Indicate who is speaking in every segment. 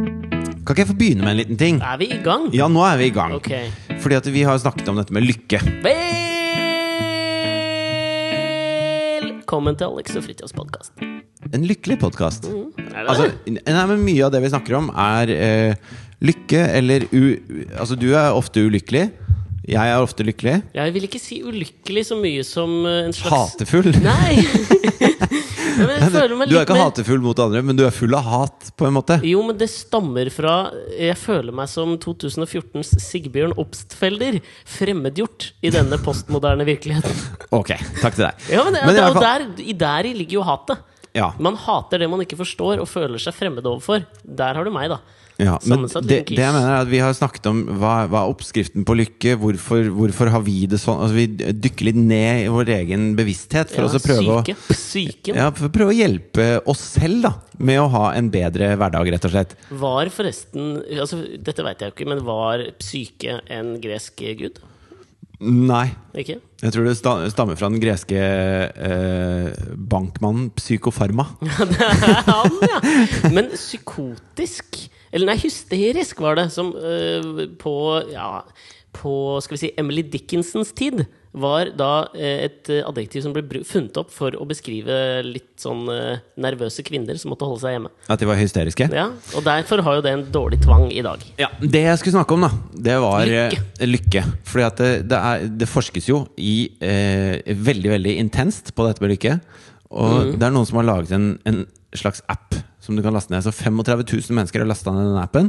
Speaker 1: Kan ikke jeg få begynne med en liten ting?
Speaker 2: Er vi i gang?
Speaker 1: Ja, nå er vi i gang.
Speaker 2: Ok.
Speaker 1: Fordi at vi har snakket om dette med lykke.
Speaker 2: Velkommen til Alex og Fritjofs podkast.
Speaker 1: En lykkelig podkast.
Speaker 2: Er det
Speaker 1: Altså,
Speaker 2: det?
Speaker 1: n- nei, men mye av det vi snakker om, er eh, lykke eller u... u- Altså, du er ofte ulykkelig. Jeg er ofte lykkelig.
Speaker 2: Jeg vil ikke si ulykkelig så mye som eh, en slags
Speaker 1: Hatefull.
Speaker 2: Nei! Nei, men jeg føler meg
Speaker 1: Du er
Speaker 2: litt
Speaker 1: ikke
Speaker 2: mer
Speaker 1: hatefull mot andre, men du er full av hat, på en måte.
Speaker 2: jo, men det stammer fra Jeg føler meg som 2014s Sigbjørn Obstfelder. Fremmedgjort i denne postmoderne virkeligheten.
Speaker 1: Ok, takk til deg.
Speaker 2: Ja, men, det-
Speaker 1: Men i hvert
Speaker 2: og
Speaker 1: fall-
Speaker 2: der, i deri ligger jo hatet.
Speaker 1: Ja.
Speaker 2: Man hater det man ikke forstår, og føler seg fremmed overfor. Der har du meg, da.
Speaker 1: Ja, men det,
Speaker 2: Sammensatt
Speaker 1: det
Speaker 2: liten quiz.
Speaker 1: jeg mener er at Vi har snakket om hva, hva er oppskriften på lykke. Hvorfor, hvorfor har vi det sånn? Altså, vi dykker litt ned i vår egen bevissthet for,
Speaker 2: Ja,
Speaker 1: oss å prøve
Speaker 2: syke.
Speaker 1: å,
Speaker 2: Psyken
Speaker 1: ja, for å prøve å hjelpe oss selv da med å ha en bedre hverdag, rett og slett.
Speaker 2: var forresten altså, Dette vet jeg jo ikke, men var psyke en gresk gud?
Speaker 1: Nei.
Speaker 2: Ikke?
Speaker 1: Jeg tror det sta- stammer fra den greske eh, bankmannen Psykofarma.
Speaker 2: Han, ja! Men psykotisk Eller nei, hysterisk var det, som øh, på ja, på skal vi si, Emily Dickinsons tid var da eh, et eh, adjektiv som ble bru- funnet opp for å beskrive litt sånn eh, nervøse kvinner som måtte holde seg hjemme.
Speaker 1: At de var hysteriske.
Speaker 2: Ja, Og derfor har jo det en dårlig tvang i dag.
Speaker 1: Ja, Det jeg skulle snakke om, da, det var
Speaker 2: Lykke.
Speaker 1: eh, lykke. Fordi at det, det, er, det forskes jo i eh, veldig veldig intenst på dette med lykke. Og
Speaker 2: Mm.
Speaker 1: det er noen som har laget en, en slags app som du kan laste ned. Så 35 000 mennesker har lasta ned den appen.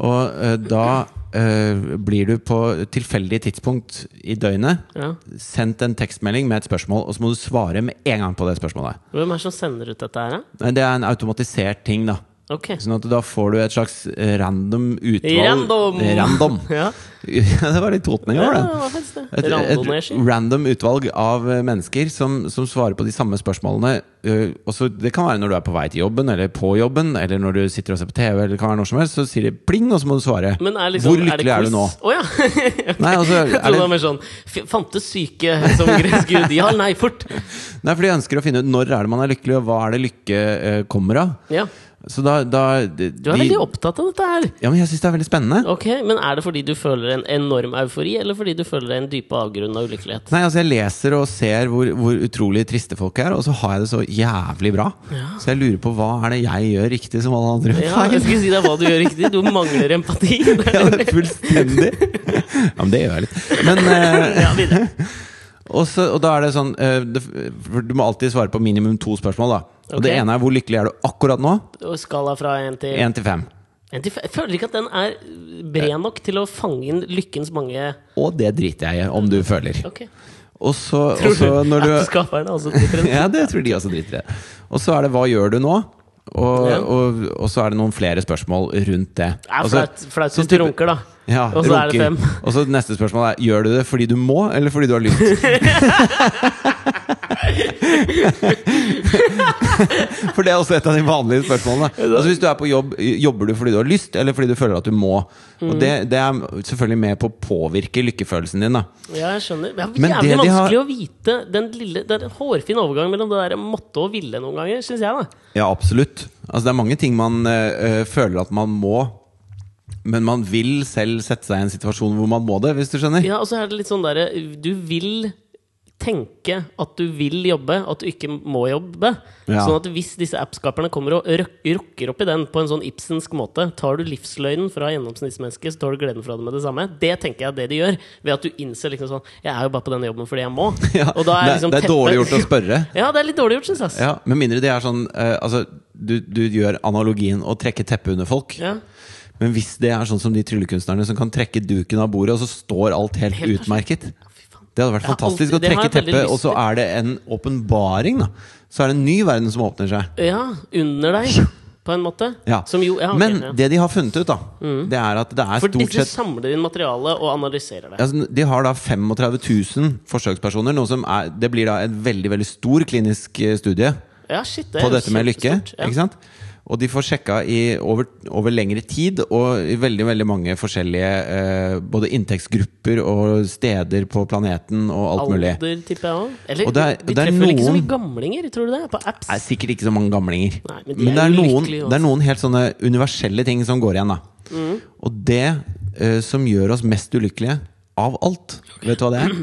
Speaker 1: Og eh, da eh, blir du på tilfeldig tidspunkt i døgnet
Speaker 2: Ja.
Speaker 1: sendt en tekstmelding med et spørsmål, og så må du svare med en gang på det spørsmålet.
Speaker 2: Hvem er det som sender ut dette her, da?
Speaker 1: Nei, Det er en automatisert ting, da.
Speaker 2: Ok.
Speaker 1: Sånn at da får du et slags eh, random utvalg
Speaker 2: Random!
Speaker 1: Random.
Speaker 2: Ja.
Speaker 1: det var litt Totning over
Speaker 2: Ja,
Speaker 1: den.
Speaker 2: hva helst det.
Speaker 1: Et, et
Speaker 2: Randoneski.
Speaker 1: random utvalg av eh, mennesker som, som svarer på de samme spørsmålene. eh, og så det kan være når du er på vei til jobben, eller på jobben, eller når du sitter og ser på TV, eller det kan være når som helst, så sier de pling, og så må du svare.
Speaker 2: Men er liksom,
Speaker 1: Hvor lykkelig er, du nå?
Speaker 2: quiz? Å ja! Ok.
Speaker 1: Nei, altså, er
Speaker 2: jeg trodde det
Speaker 1: det-
Speaker 2: var mer sånn f- Fantes syke som gresk gud? Ja eller nei? Fort!
Speaker 1: Nei, for de ønsker å finne ut når er det man er lykkelig, og hva er det lykke eh, kommer av.
Speaker 2: Ja.
Speaker 1: Så da, da de,
Speaker 2: Du er veldig opptatt av dette her.
Speaker 1: Ja, men jeg syns det er veldig spennende.
Speaker 2: Ok, Men er det fordi du føler en enorm eufori, eller fordi du føler en dype avgrunn av ulykkelighet?
Speaker 1: Nei, altså Jeg leser og ser hvor, hvor utrolig triste folk er, og så har jeg det så jævlig bra. Så jeg lurer på hva er det jeg gjør riktig som alle andre
Speaker 2: Ja, jeg
Speaker 1: feil?
Speaker 2: skulle si deg hva du gjør riktig. Du mangler empati.
Speaker 1: Ja, det er fullstendig. Ja, men det gjør jeg litt. Men, eh,
Speaker 2: Ja, videre.
Speaker 1: og så- og da er det sånn eh, det, for Du må alltid svare på minimum to spørsmål. da Og
Speaker 2: Ok.
Speaker 1: Det ene er hvor lykkelig er du akkurat nå?
Speaker 2: Og skala fra én til
Speaker 1: Én til fem.
Speaker 2: En til f- Jeg føler ikke at den er bred nok til å fange inn lykkens mange
Speaker 1: Og det driter jeg i om du føler.
Speaker 2: Ok.
Speaker 1: Og så, og
Speaker 2: Tror du
Speaker 1: så når
Speaker 2: at
Speaker 1: du
Speaker 2: skaperen er også different?
Speaker 1: Ja, det tror de også driter i. Og så er det 'hva gjør du nå?' Og,
Speaker 2: Ja.
Speaker 1: og, og så er det noen flere spørsmål rundt det.
Speaker 2: Det er
Speaker 1: Altså,
Speaker 2: flaut flaut
Speaker 1: sånn
Speaker 2: hvis du
Speaker 1: type-
Speaker 2: runker, da.
Speaker 1: Ja,
Speaker 2: og så er det
Speaker 1: runking.
Speaker 2: fem.
Speaker 1: Og så neste spørsmål er Gjør du det fordi du må, eller fordi du har lyst? For det er også et av de vanlige spørsmålene. Altså Hvis du er på jobb, jobber du fordi du har lyst, eller fordi du føler at du må? Og det,
Speaker 2: Mm.
Speaker 1: det er selvfølgelig med på å påvirke lykkefølelsen din. da
Speaker 2: Ja, jeg skjønner. Det er
Speaker 1: Men
Speaker 2: jævlig
Speaker 1: det de har-
Speaker 2: vanskelig å vite den lille Det er en hårfin overgang mellom det der måtte og ville noen ganger, syns jeg, da.
Speaker 1: Ja, absolutt. Altså, det er mange ting man eh, eh, føler at man må, men man vil selv sette seg i en situasjon hvor man må det, hvis du skjønner.
Speaker 2: Ja, og så er det litt sånn derre Du vil tenke at du vil jobbe, at du ikke må jobbe.
Speaker 1: Ja.
Speaker 2: Sånn at hvis disse appskaperne kommer og røk- rukker opp i den på en sånn Ibsensk måte, tar du livsløgnen fra gjennomsnittsmennesket, så tar du gleden fra det med det samme. Det tenker jeg er det de gjør, ved at du innser liksom sånn Jeg er jo bare på denne jobben fordi jeg må.
Speaker 1: Ja,
Speaker 2: og da er
Speaker 1: det,
Speaker 2: liksom
Speaker 1: det er
Speaker 2: teppet-
Speaker 1: dårlig gjort å spørre.
Speaker 2: Ja, det er litt dårlig gjort, syns jeg. ass.
Speaker 1: Ja, Med mindre det er sånn eh, Altså, du, du gjør analogien å trekke teppet under folk.
Speaker 2: Ja.
Speaker 1: Men hvis det er sånn som de tryllekunstnerne som kan trekke duken av bordet, og så står alt helt,
Speaker 2: Helt
Speaker 1: utmerket.
Speaker 2: Ja, fy faen.
Speaker 1: Det hadde vært
Speaker 2: Jeg har
Speaker 1: fantastisk
Speaker 2: alltid-
Speaker 1: å
Speaker 2: det har
Speaker 1: trekke
Speaker 2: jeg veldig
Speaker 1: teppet,
Speaker 2: lyst
Speaker 1: og så er det en åpenbaring, da. Så er det en ny verden som åpner seg.
Speaker 2: Ja, under deg, på en måte.
Speaker 1: Ja.
Speaker 2: Som jo, ja, ok,
Speaker 1: Men
Speaker 2: ja. Mm.
Speaker 1: det de har funnet ut, da, det er at det er
Speaker 2: For
Speaker 1: stort
Speaker 2: disse
Speaker 1: sett
Speaker 2: samler inn materiale og analyserer det.
Speaker 1: Altså, de har da 35 000 forsøkspersoner. Noe som er, det blir da en veldig veldig stor klinisk eh, studie
Speaker 2: Ja, shit, det er
Speaker 1: på dette med lykke.
Speaker 2: kjempestort, ja.
Speaker 1: Ikke sant? Og de får sjekka i over, over lengre tid og i veldig veldig mange forskjellige eh, både inntektsgrupper og steder på planeten og alt mulig.
Speaker 2: Alder, tipper jeg òg. Eller
Speaker 1: Og det er-
Speaker 2: de
Speaker 1: det er
Speaker 2: treffer vel ikke så
Speaker 1: noen-
Speaker 2: mye gamlinger, tror du det? På apps?
Speaker 1: Det er sikkert ikke så mange gamlinger.
Speaker 2: Nei, men
Speaker 1: men,
Speaker 2: de er
Speaker 1: det, er noen,
Speaker 2: lykkelige også. Mm.
Speaker 1: det er noen helt sånne universelle ting som går igjen. da Og det eh, som gjør oss mest ulykkelige av alt, vet du hva det er?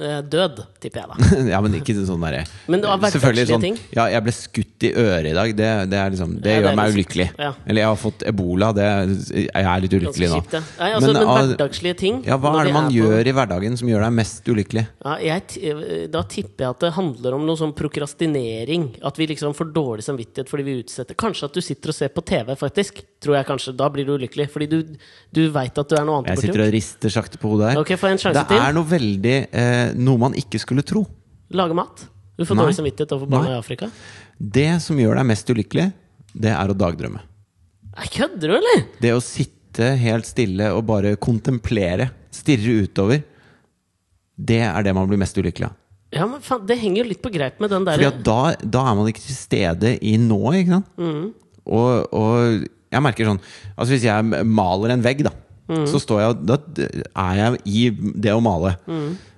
Speaker 2: Eh, Død, tipper jeg da.
Speaker 1: ja, men ikke sånn derre
Speaker 2: Men det var
Speaker 1: Selvfølgelig
Speaker 2: hverdagslige
Speaker 1: sånn
Speaker 2: ting.
Speaker 1: Ja, jeg ble skutt i øret i dag. Det, det, er liksom, det
Speaker 2: Ja, det
Speaker 1: gjør
Speaker 2: er
Speaker 1: meg
Speaker 2: litt-
Speaker 1: ulykkelig.
Speaker 2: ja.
Speaker 1: Eller jeg har fått ebola. Det, jeg er litt
Speaker 2: Ganske
Speaker 1: ulykkelig nå.
Speaker 2: kjipt, det. Nei, altså, men,
Speaker 1: ah,
Speaker 2: hverdagslige ting
Speaker 1: ja, hva
Speaker 2: når
Speaker 1: er det
Speaker 2: vi
Speaker 1: man
Speaker 2: på-
Speaker 1: gjør i hverdagen som gjør deg mest ulykkelig?
Speaker 2: Ja, jeg, ti- da tipper jeg at det handler om noe sånn prokrastinering. At vi liksom får dårlig samvittighet fordi vi utsetter. Kanskje at du sitter og ser på TV, faktisk. Tror jeg kanskje. Da blir du ulykkelig. Fordi du, du veit at du er noe annet.
Speaker 1: Jeg sitter og rister sakte på hodet her.
Speaker 2: Ok, få en sjanse
Speaker 1: det
Speaker 2: til.
Speaker 1: er noe veldig eh, Noe man ikke skulle tro.
Speaker 2: Lage mat. Du får
Speaker 1: Nei.
Speaker 2: dårlig samvittighet overfor barna
Speaker 1: Nei.
Speaker 2: i Afrika.
Speaker 1: Det som gjør deg mest ulykkelig, det er å dagdrømme.
Speaker 2: Nei, kødder du, eller?
Speaker 1: Det å sitte helt stille og bare kontemplere, stirre utover, det er det man blir mest ulykkelig av.
Speaker 2: Ja, men faen, Det henger jo litt på greip med den
Speaker 1: Fordi
Speaker 2: derre
Speaker 1: at da, da er man ikke til stede i nået, ikke sant? Og, og jeg merker sånn Altså hvis jeg maler en vegg, da, så står jeg og Da er jeg i det å male.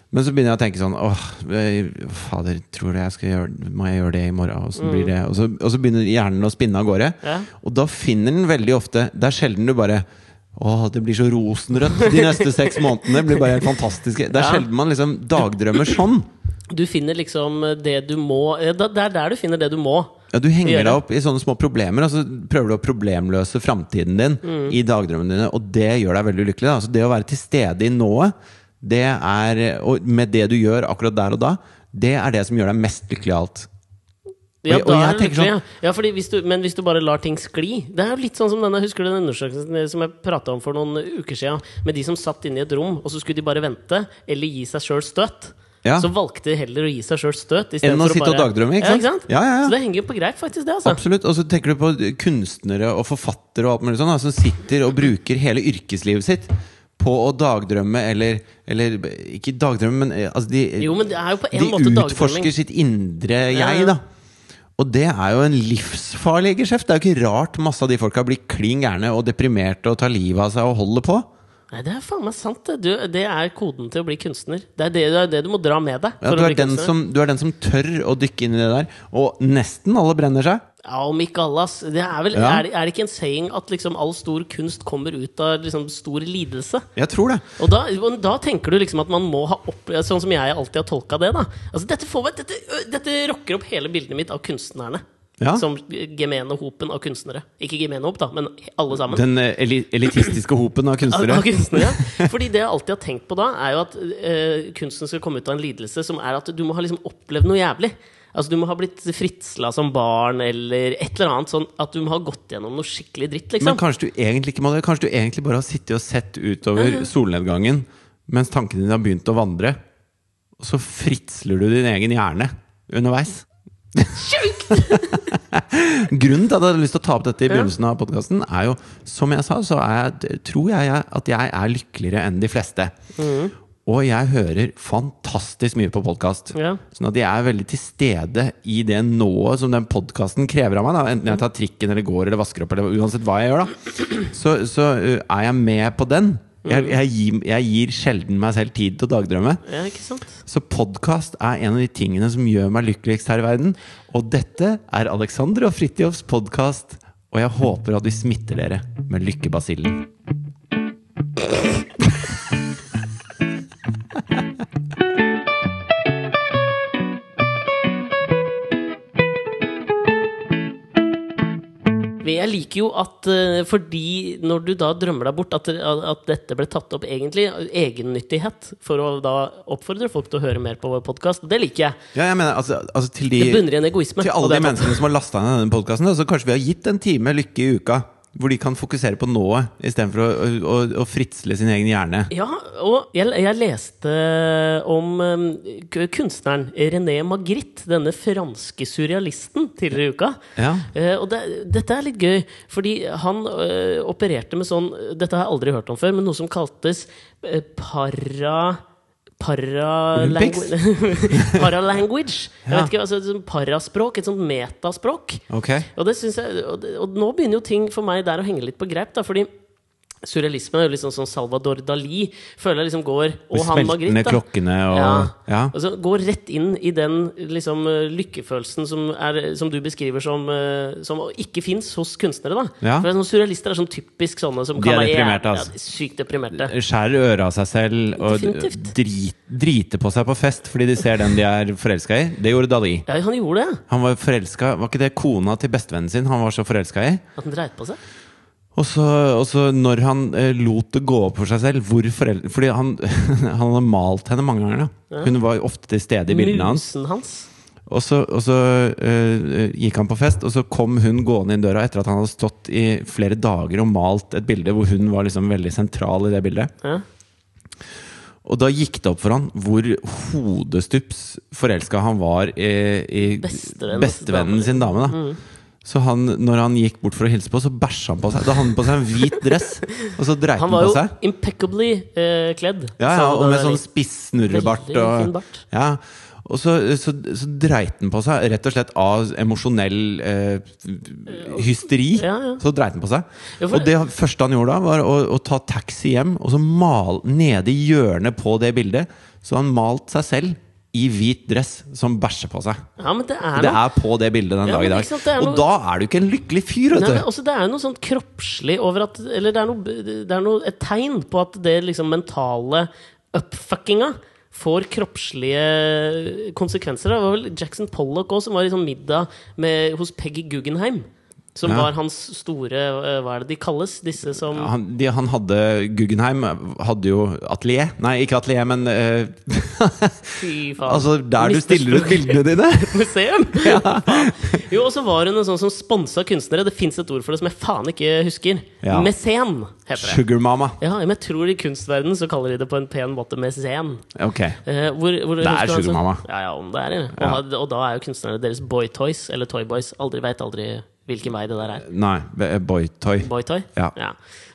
Speaker 1: Men så begynner jeg å tenke sånn Åh, eh, fader, tror du jeg skal gjøre Må jeg gjøre det i morgen? Åssen blir det? Og så, og så begynner hjernen å spinne av gårde.
Speaker 2: Ja.
Speaker 1: Og da finner den veldig ofte Det er sjelden du bare Åh, det blir så rosenrødt de neste seks månedene. blir bare helt fantastiske Det er
Speaker 2: Ja.
Speaker 1: sjelden man liksom dagdrømmer sånn.
Speaker 2: Du finner liksom det du må Ja, da- Det er der du finner det du må.
Speaker 1: Ja, Du henger
Speaker 2: Gjøre.
Speaker 1: deg opp i sånne små problemer, og så prøver du å problemløse framtiden din
Speaker 2: Mm.
Speaker 1: i dagdrømmene dine, og det gjør deg veldig ulykkelig. Da. Så det å være til stede i nået, det er, og med det du gjør akkurat der og da, det er det som gjør deg mest lykkelig av alt.
Speaker 2: Ja,
Speaker 1: Og- og
Speaker 2: da
Speaker 1: jeg
Speaker 2: er du
Speaker 1: tenker sånn-
Speaker 2: lykkelig, ja. ja fordi hvis du, Men hvis du bare lar ting skli Det er jo litt sånn som denne Husker du den undersøkelsen eh, som jeg prata om for noen uker siden? Med de som satt inne i et rom, og så skulle de bare vente eller gi seg sjøl støt.
Speaker 1: Ja.
Speaker 2: Så valgte de heller å gi seg sjøl støt. i stedet
Speaker 1: Enn å
Speaker 2: for
Speaker 1: sitte og
Speaker 2: bare-
Speaker 1: dagdrømme, ikke
Speaker 2: Ja,
Speaker 1: sant? Ja, ja, ja.
Speaker 2: Så det henger jo på greip, faktisk, det. altså
Speaker 1: Absolutt. Og så tenker du på kunstnere og forfattere og alt mulig sånn, da, som sitter og bruker hele yrkeslivet sitt på å dagdrømme, eller, eller Ikke dagdrømme, men eh, altså de,
Speaker 2: Jo, men det er jo på en
Speaker 1: de
Speaker 2: måte
Speaker 1: utforsker
Speaker 2: dagdrømming.
Speaker 1: sitt indre
Speaker 2: Ja,
Speaker 1: jeg,
Speaker 2: ja.
Speaker 1: da. Og det er jo en livsfarlig geskjeft. Det er jo ikke rart masse av de folka blir klin gærne og deprimerte og tar livet av seg og holder på.
Speaker 2: Nei, det er faen meg sant, det. Du, det er koden til å bli kunstner. Det er det, det, er det du må dra med deg.
Speaker 1: Ja,
Speaker 2: for
Speaker 1: du,
Speaker 2: å
Speaker 1: er
Speaker 2: bli
Speaker 1: den
Speaker 2: kunstner.
Speaker 1: som, du er den som tør å dykke inn i det der. Og nesten alle brenner seg.
Speaker 2: Ja, om ikke alle, ass. Det er, vel,
Speaker 1: Ja.
Speaker 2: er, det- er det ikke en saying at liksom all stor kunst kommer ut av liksom stor lidelse?
Speaker 1: Jeg tror det.
Speaker 2: Og da, og da tenker du liksom at man må ha opp... Sånn som jeg alltid har tolka det, da. Altså, dette, får meg, dette, ø, dette rocker opp hele bildet mitt av kunstnerne.
Speaker 1: Ja.
Speaker 2: Som gemene hopen av kunstnere. Ikke gemene hop, da, men alle sammen.
Speaker 1: Den eh, eli elitistiske hopen av
Speaker 2: Av-
Speaker 1: kunstnere.
Speaker 2: av kunstnere. Fordi det jeg alltid har tenkt på da, er jo at eh, kunsten skal komme ut av en lidelse som er at du må ha liksom opplevd noe jævlig. Altså Du må ha blitt fritsla som barn, eller et eller annet sånn at du må ha gått gjennom noe skikkelig dritt, liksom.
Speaker 1: Men kanskje du egentlig ikke må det Kanskje du egentlig bare har sittet og sett
Speaker 2: Mhm.
Speaker 1: utover solnedgangen Mens tankene dine har begynt å vandre Og så fritsler du din egen hjerne Underveis Grunnen til at jeg hadde lyst til å ta opp dette i begynnelsen av podcasten Er jo, som jeg sa, så er jeg, tror jeg jeg- at jeg er lykkeligere enn de fleste Og jeg hører fantastisk mye på podcast
Speaker 2: Ja.
Speaker 1: Sånn at jeg er veldig til stede i det nået som den podkasten krever av meg. Da. Enten jeg tar trikken eller går eller vasker opp, eller uansett hva jeg gjør, da. Så, så uh, er jeg med på den. Jeg, jeg, gir, jeg gir sjelden meg selv tid til å dagdrømme.
Speaker 2: Ja, ikke sant?
Speaker 1: Så podkast er en av de tingene som gjør meg lykkeligst her i verden. Og dette er Alexander og Fridtjofs podkast, og jeg håper at vi smitter dere med lykkebasillen.
Speaker 2: Men jeg liker jo at eh, fordi når du da drømmer deg bort, at, at dette ble tatt opp egentlig av egennyttighet, for å da oppfordre folk til å høre mer på vår podkast. Det liker jeg.
Speaker 1: Ja, jeg mener, altså, altså til de
Speaker 2: Det bunner i en egoisme.
Speaker 1: Til
Speaker 2: og
Speaker 1: alle de
Speaker 2: det er topp.
Speaker 1: menneskene som har lasta ned denne podkasten, så kanskje vi har gitt en time lykke i uka. Hvor de kan fokusere på nået istedenfor å, å, å, å fritsle sin egen hjerne.
Speaker 2: Ja, og jeg, jeg leste om eh, k- kunstneren René Magritte, denne franske surrealisten, tidligere i uka.
Speaker 1: Ja.
Speaker 2: Eh, og det, dette er litt gøy, fordi han eh, opererte med sånn Dette har jeg aldri hørt om før, men noe som kaltes eh, para... Paralanguage. paralanguage.
Speaker 1: Ja.
Speaker 2: Jeg vet ikke, altså, et sånt paraspråk, et sånt metaspråk.
Speaker 1: Ok
Speaker 2: Og, det synes jeg, og, det, og nå begynner jo ting for meg der å henge litt på greip, da, fordi Surrealismen er jo litt sånn som Salvador Dali føler jeg liksom går Og
Speaker 1: De
Speaker 2: han
Speaker 1: smeltende
Speaker 2: Margrit, da.
Speaker 1: klokkene og
Speaker 2: Ja.
Speaker 1: ja.
Speaker 2: Altså, gå rett inn i den liksom, eh, lykkefølelsen som, er, som du beskriver som, eh, som ikke fins hos kunstnere. Da.
Speaker 1: Ja.
Speaker 2: For det er sånn, Surrealister er sånn typisk sånne som
Speaker 1: De
Speaker 2: kan
Speaker 1: er
Speaker 2: være
Speaker 1: deprimerte,
Speaker 2: jævlig-
Speaker 1: altså.
Speaker 2: ja, sykt deprimerte.
Speaker 1: Skjærer øret av seg selv og
Speaker 2: Definitivt.
Speaker 1: drit, driter på seg på fest fordi de ser den de er forelska i. Det gjorde Dali.
Speaker 2: Ja, han gjorde det!
Speaker 1: Han var forelska Var ikke det kona til bestevennen sin han var så forelska i?
Speaker 2: At han dreit på seg.
Speaker 1: Og så, og så når han eh, lot det gå opp for seg selv hvor forel Fordi han, han hadde malt henne mange ganger. Da. Hun var jo ofte til stede i bildene hans.
Speaker 2: Musen hans.
Speaker 1: Og så, og så eh, gikk han på fest, og så kom hun gående inn døra etter at han hadde stått i flere dager og malt et bilde hvor hun var liksom veldig sentral i det bildet.
Speaker 2: Ja.
Speaker 1: Og da gikk det opp for han hvor hodestups forelska han var i, i
Speaker 2: Bestevennen-
Speaker 1: bestevennen sin dame. da
Speaker 2: Mm.
Speaker 1: Så han, når han gikk bort for å hilse på, så bæsja han på seg. Da hadde han på seg en hvit dress, og så dreit han,
Speaker 2: Han
Speaker 1: på
Speaker 2: var jo
Speaker 1: seg.
Speaker 2: impeccably eh, kledd.
Speaker 1: Ja, ja,
Speaker 2: sa
Speaker 1: og med
Speaker 2: Dali.
Speaker 1: sånn spissnurrebart.
Speaker 2: Veldig fin
Speaker 1: Og,
Speaker 2: bart.
Speaker 1: ja. og så, så, så dreit den på seg, rett og slett av emosjonell eh, hysteri.
Speaker 2: Ja, ja.
Speaker 1: Så dreit den på seg.
Speaker 2: Ja, for-
Speaker 1: Og det han- første han gjorde da, var å, å ta taxi hjem, og så male nede i hjørnet på det bildet. Så han malte seg selv i hvit dress som bæsjer på seg.
Speaker 2: Ja, men det er
Speaker 1: Det
Speaker 2: noe
Speaker 1: er på det bildet den
Speaker 2: Ja,
Speaker 1: dag i
Speaker 2: men
Speaker 1: dag.
Speaker 2: ikke sant, det er noe-
Speaker 1: Og da er du ikke en lykkelig fyr,
Speaker 2: Nei,
Speaker 1: vet
Speaker 2: men
Speaker 1: du.
Speaker 2: også, det er noe sånn kroppslig over at Eller det er noe, det er noe et tegn på at det liksom mentale upfuckinga får kroppslige konsekvenser. Det var vel Jackson Pollock også, som var i sånn middag med, hos Peggy Guggenheim. Som
Speaker 1: Ja.
Speaker 2: var hans store eh, Hva er det de kalles? Disse som
Speaker 1: Han, de, han hadde Guggenheim hadde jo atelier. Nei, ikke atelier, men eh,
Speaker 2: Fy faen.
Speaker 1: altså der du
Speaker 2: Mr.
Speaker 1: stiller ut
Speaker 2: Spurk.
Speaker 1: bildene dine.
Speaker 2: museum. Faen. Jo, og så var hun en sånn som sponsa kunstnere. Det fins et ord for det som jeg faen ikke husker.
Speaker 1: Ja.
Speaker 2: Mesen heter det.
Speaker 1: Sugar Mama.
Speaker 2: Ja, men jeg tror i kunstverdenen så kaller de det på en pen måte mesen.
Speaker 1: Ok.
Speaker 2: Eh, hvor, hvor, det
Speaker 1: er sugar mama.
Speaker 2: Ja, ja, om det er det. Og, ha- og da er jo kunstnerne deres boytoys eller toyboys. Aldri veit aldri hvilken vei det der er.
Speaker 1: Nei, be- boytoy.
Speaker 2: Boytoy?
Speaker 1: Ja.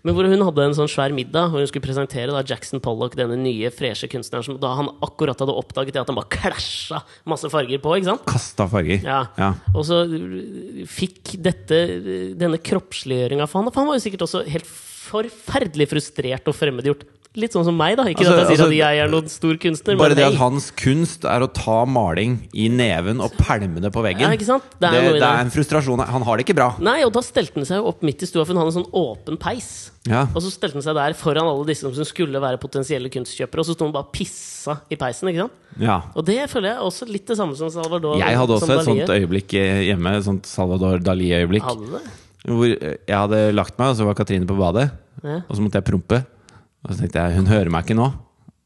Speaker 2: Men hvor hun hadde en sånn svær middag hvor hun skulle presentere da Jackson Pollock, denne nye, freshe kunstneren som da han akkurat hadde oppdaget det at han bare klasja masse farger på, ikke sant?
Speaker 1: Kasta farger.
Speaker 2: Ja. Og så eh, fikk dette, eh, denne kroppsliggjøringa for han. For han var jo sikkert også helt forferdelig frustrert og fremmedgjort. Litt sånn som meg, da. Ikke
Speaker 1: Altså,
Speaker 2: at jeg sier
Speaker 1: altså,
Speaker 2: at jeg er noen stor kunstner.
Speaker 1: Bare det at
Speaker 2: men
Speaker 1: hans kunst er å ta maling i neven og pælme det på veggen.
Speaker 2: Ja, ikke sant? Det er
Speaker 1: det,
Speaker 2: noe i
Speaker 1: det er
Speaker 2: det.
Speaker 1: en frustrasjon. Han har det ikke bra.
Speaker 2: Nei, og da stelte han seg jo opp midt i stua, for hun hadde en sånn åpen peis.
Speaker 1: Ja.
Speaker 2: Og så stelte han seg der foran alle disse som skulle være potensielle kunstkjøpere, og så sto han bare og pissa i peisen, ikke sant?
Speaker 1: ja.
Speaker 2: Og det føler jeg er også litt det samme som Salvador.
Speaker 1: Jeg hadde også
Speaker 2: som
Speaker 1: et sånt
Speaker 2: Dali.
Speaker 1: øyeblikk eh, hjemme. Et sånt Salvador Dali-øyeblikk.
Speaker 2: Hadde det?
Speaker 1: Hvor eh, jeg hadde lagt meg, og så var Katrine på badet.
Speaker 2: Ja.
Speaker 1: Og så måtte jeg prompe. Og så tenkte jeg hun hører meg ikke nå.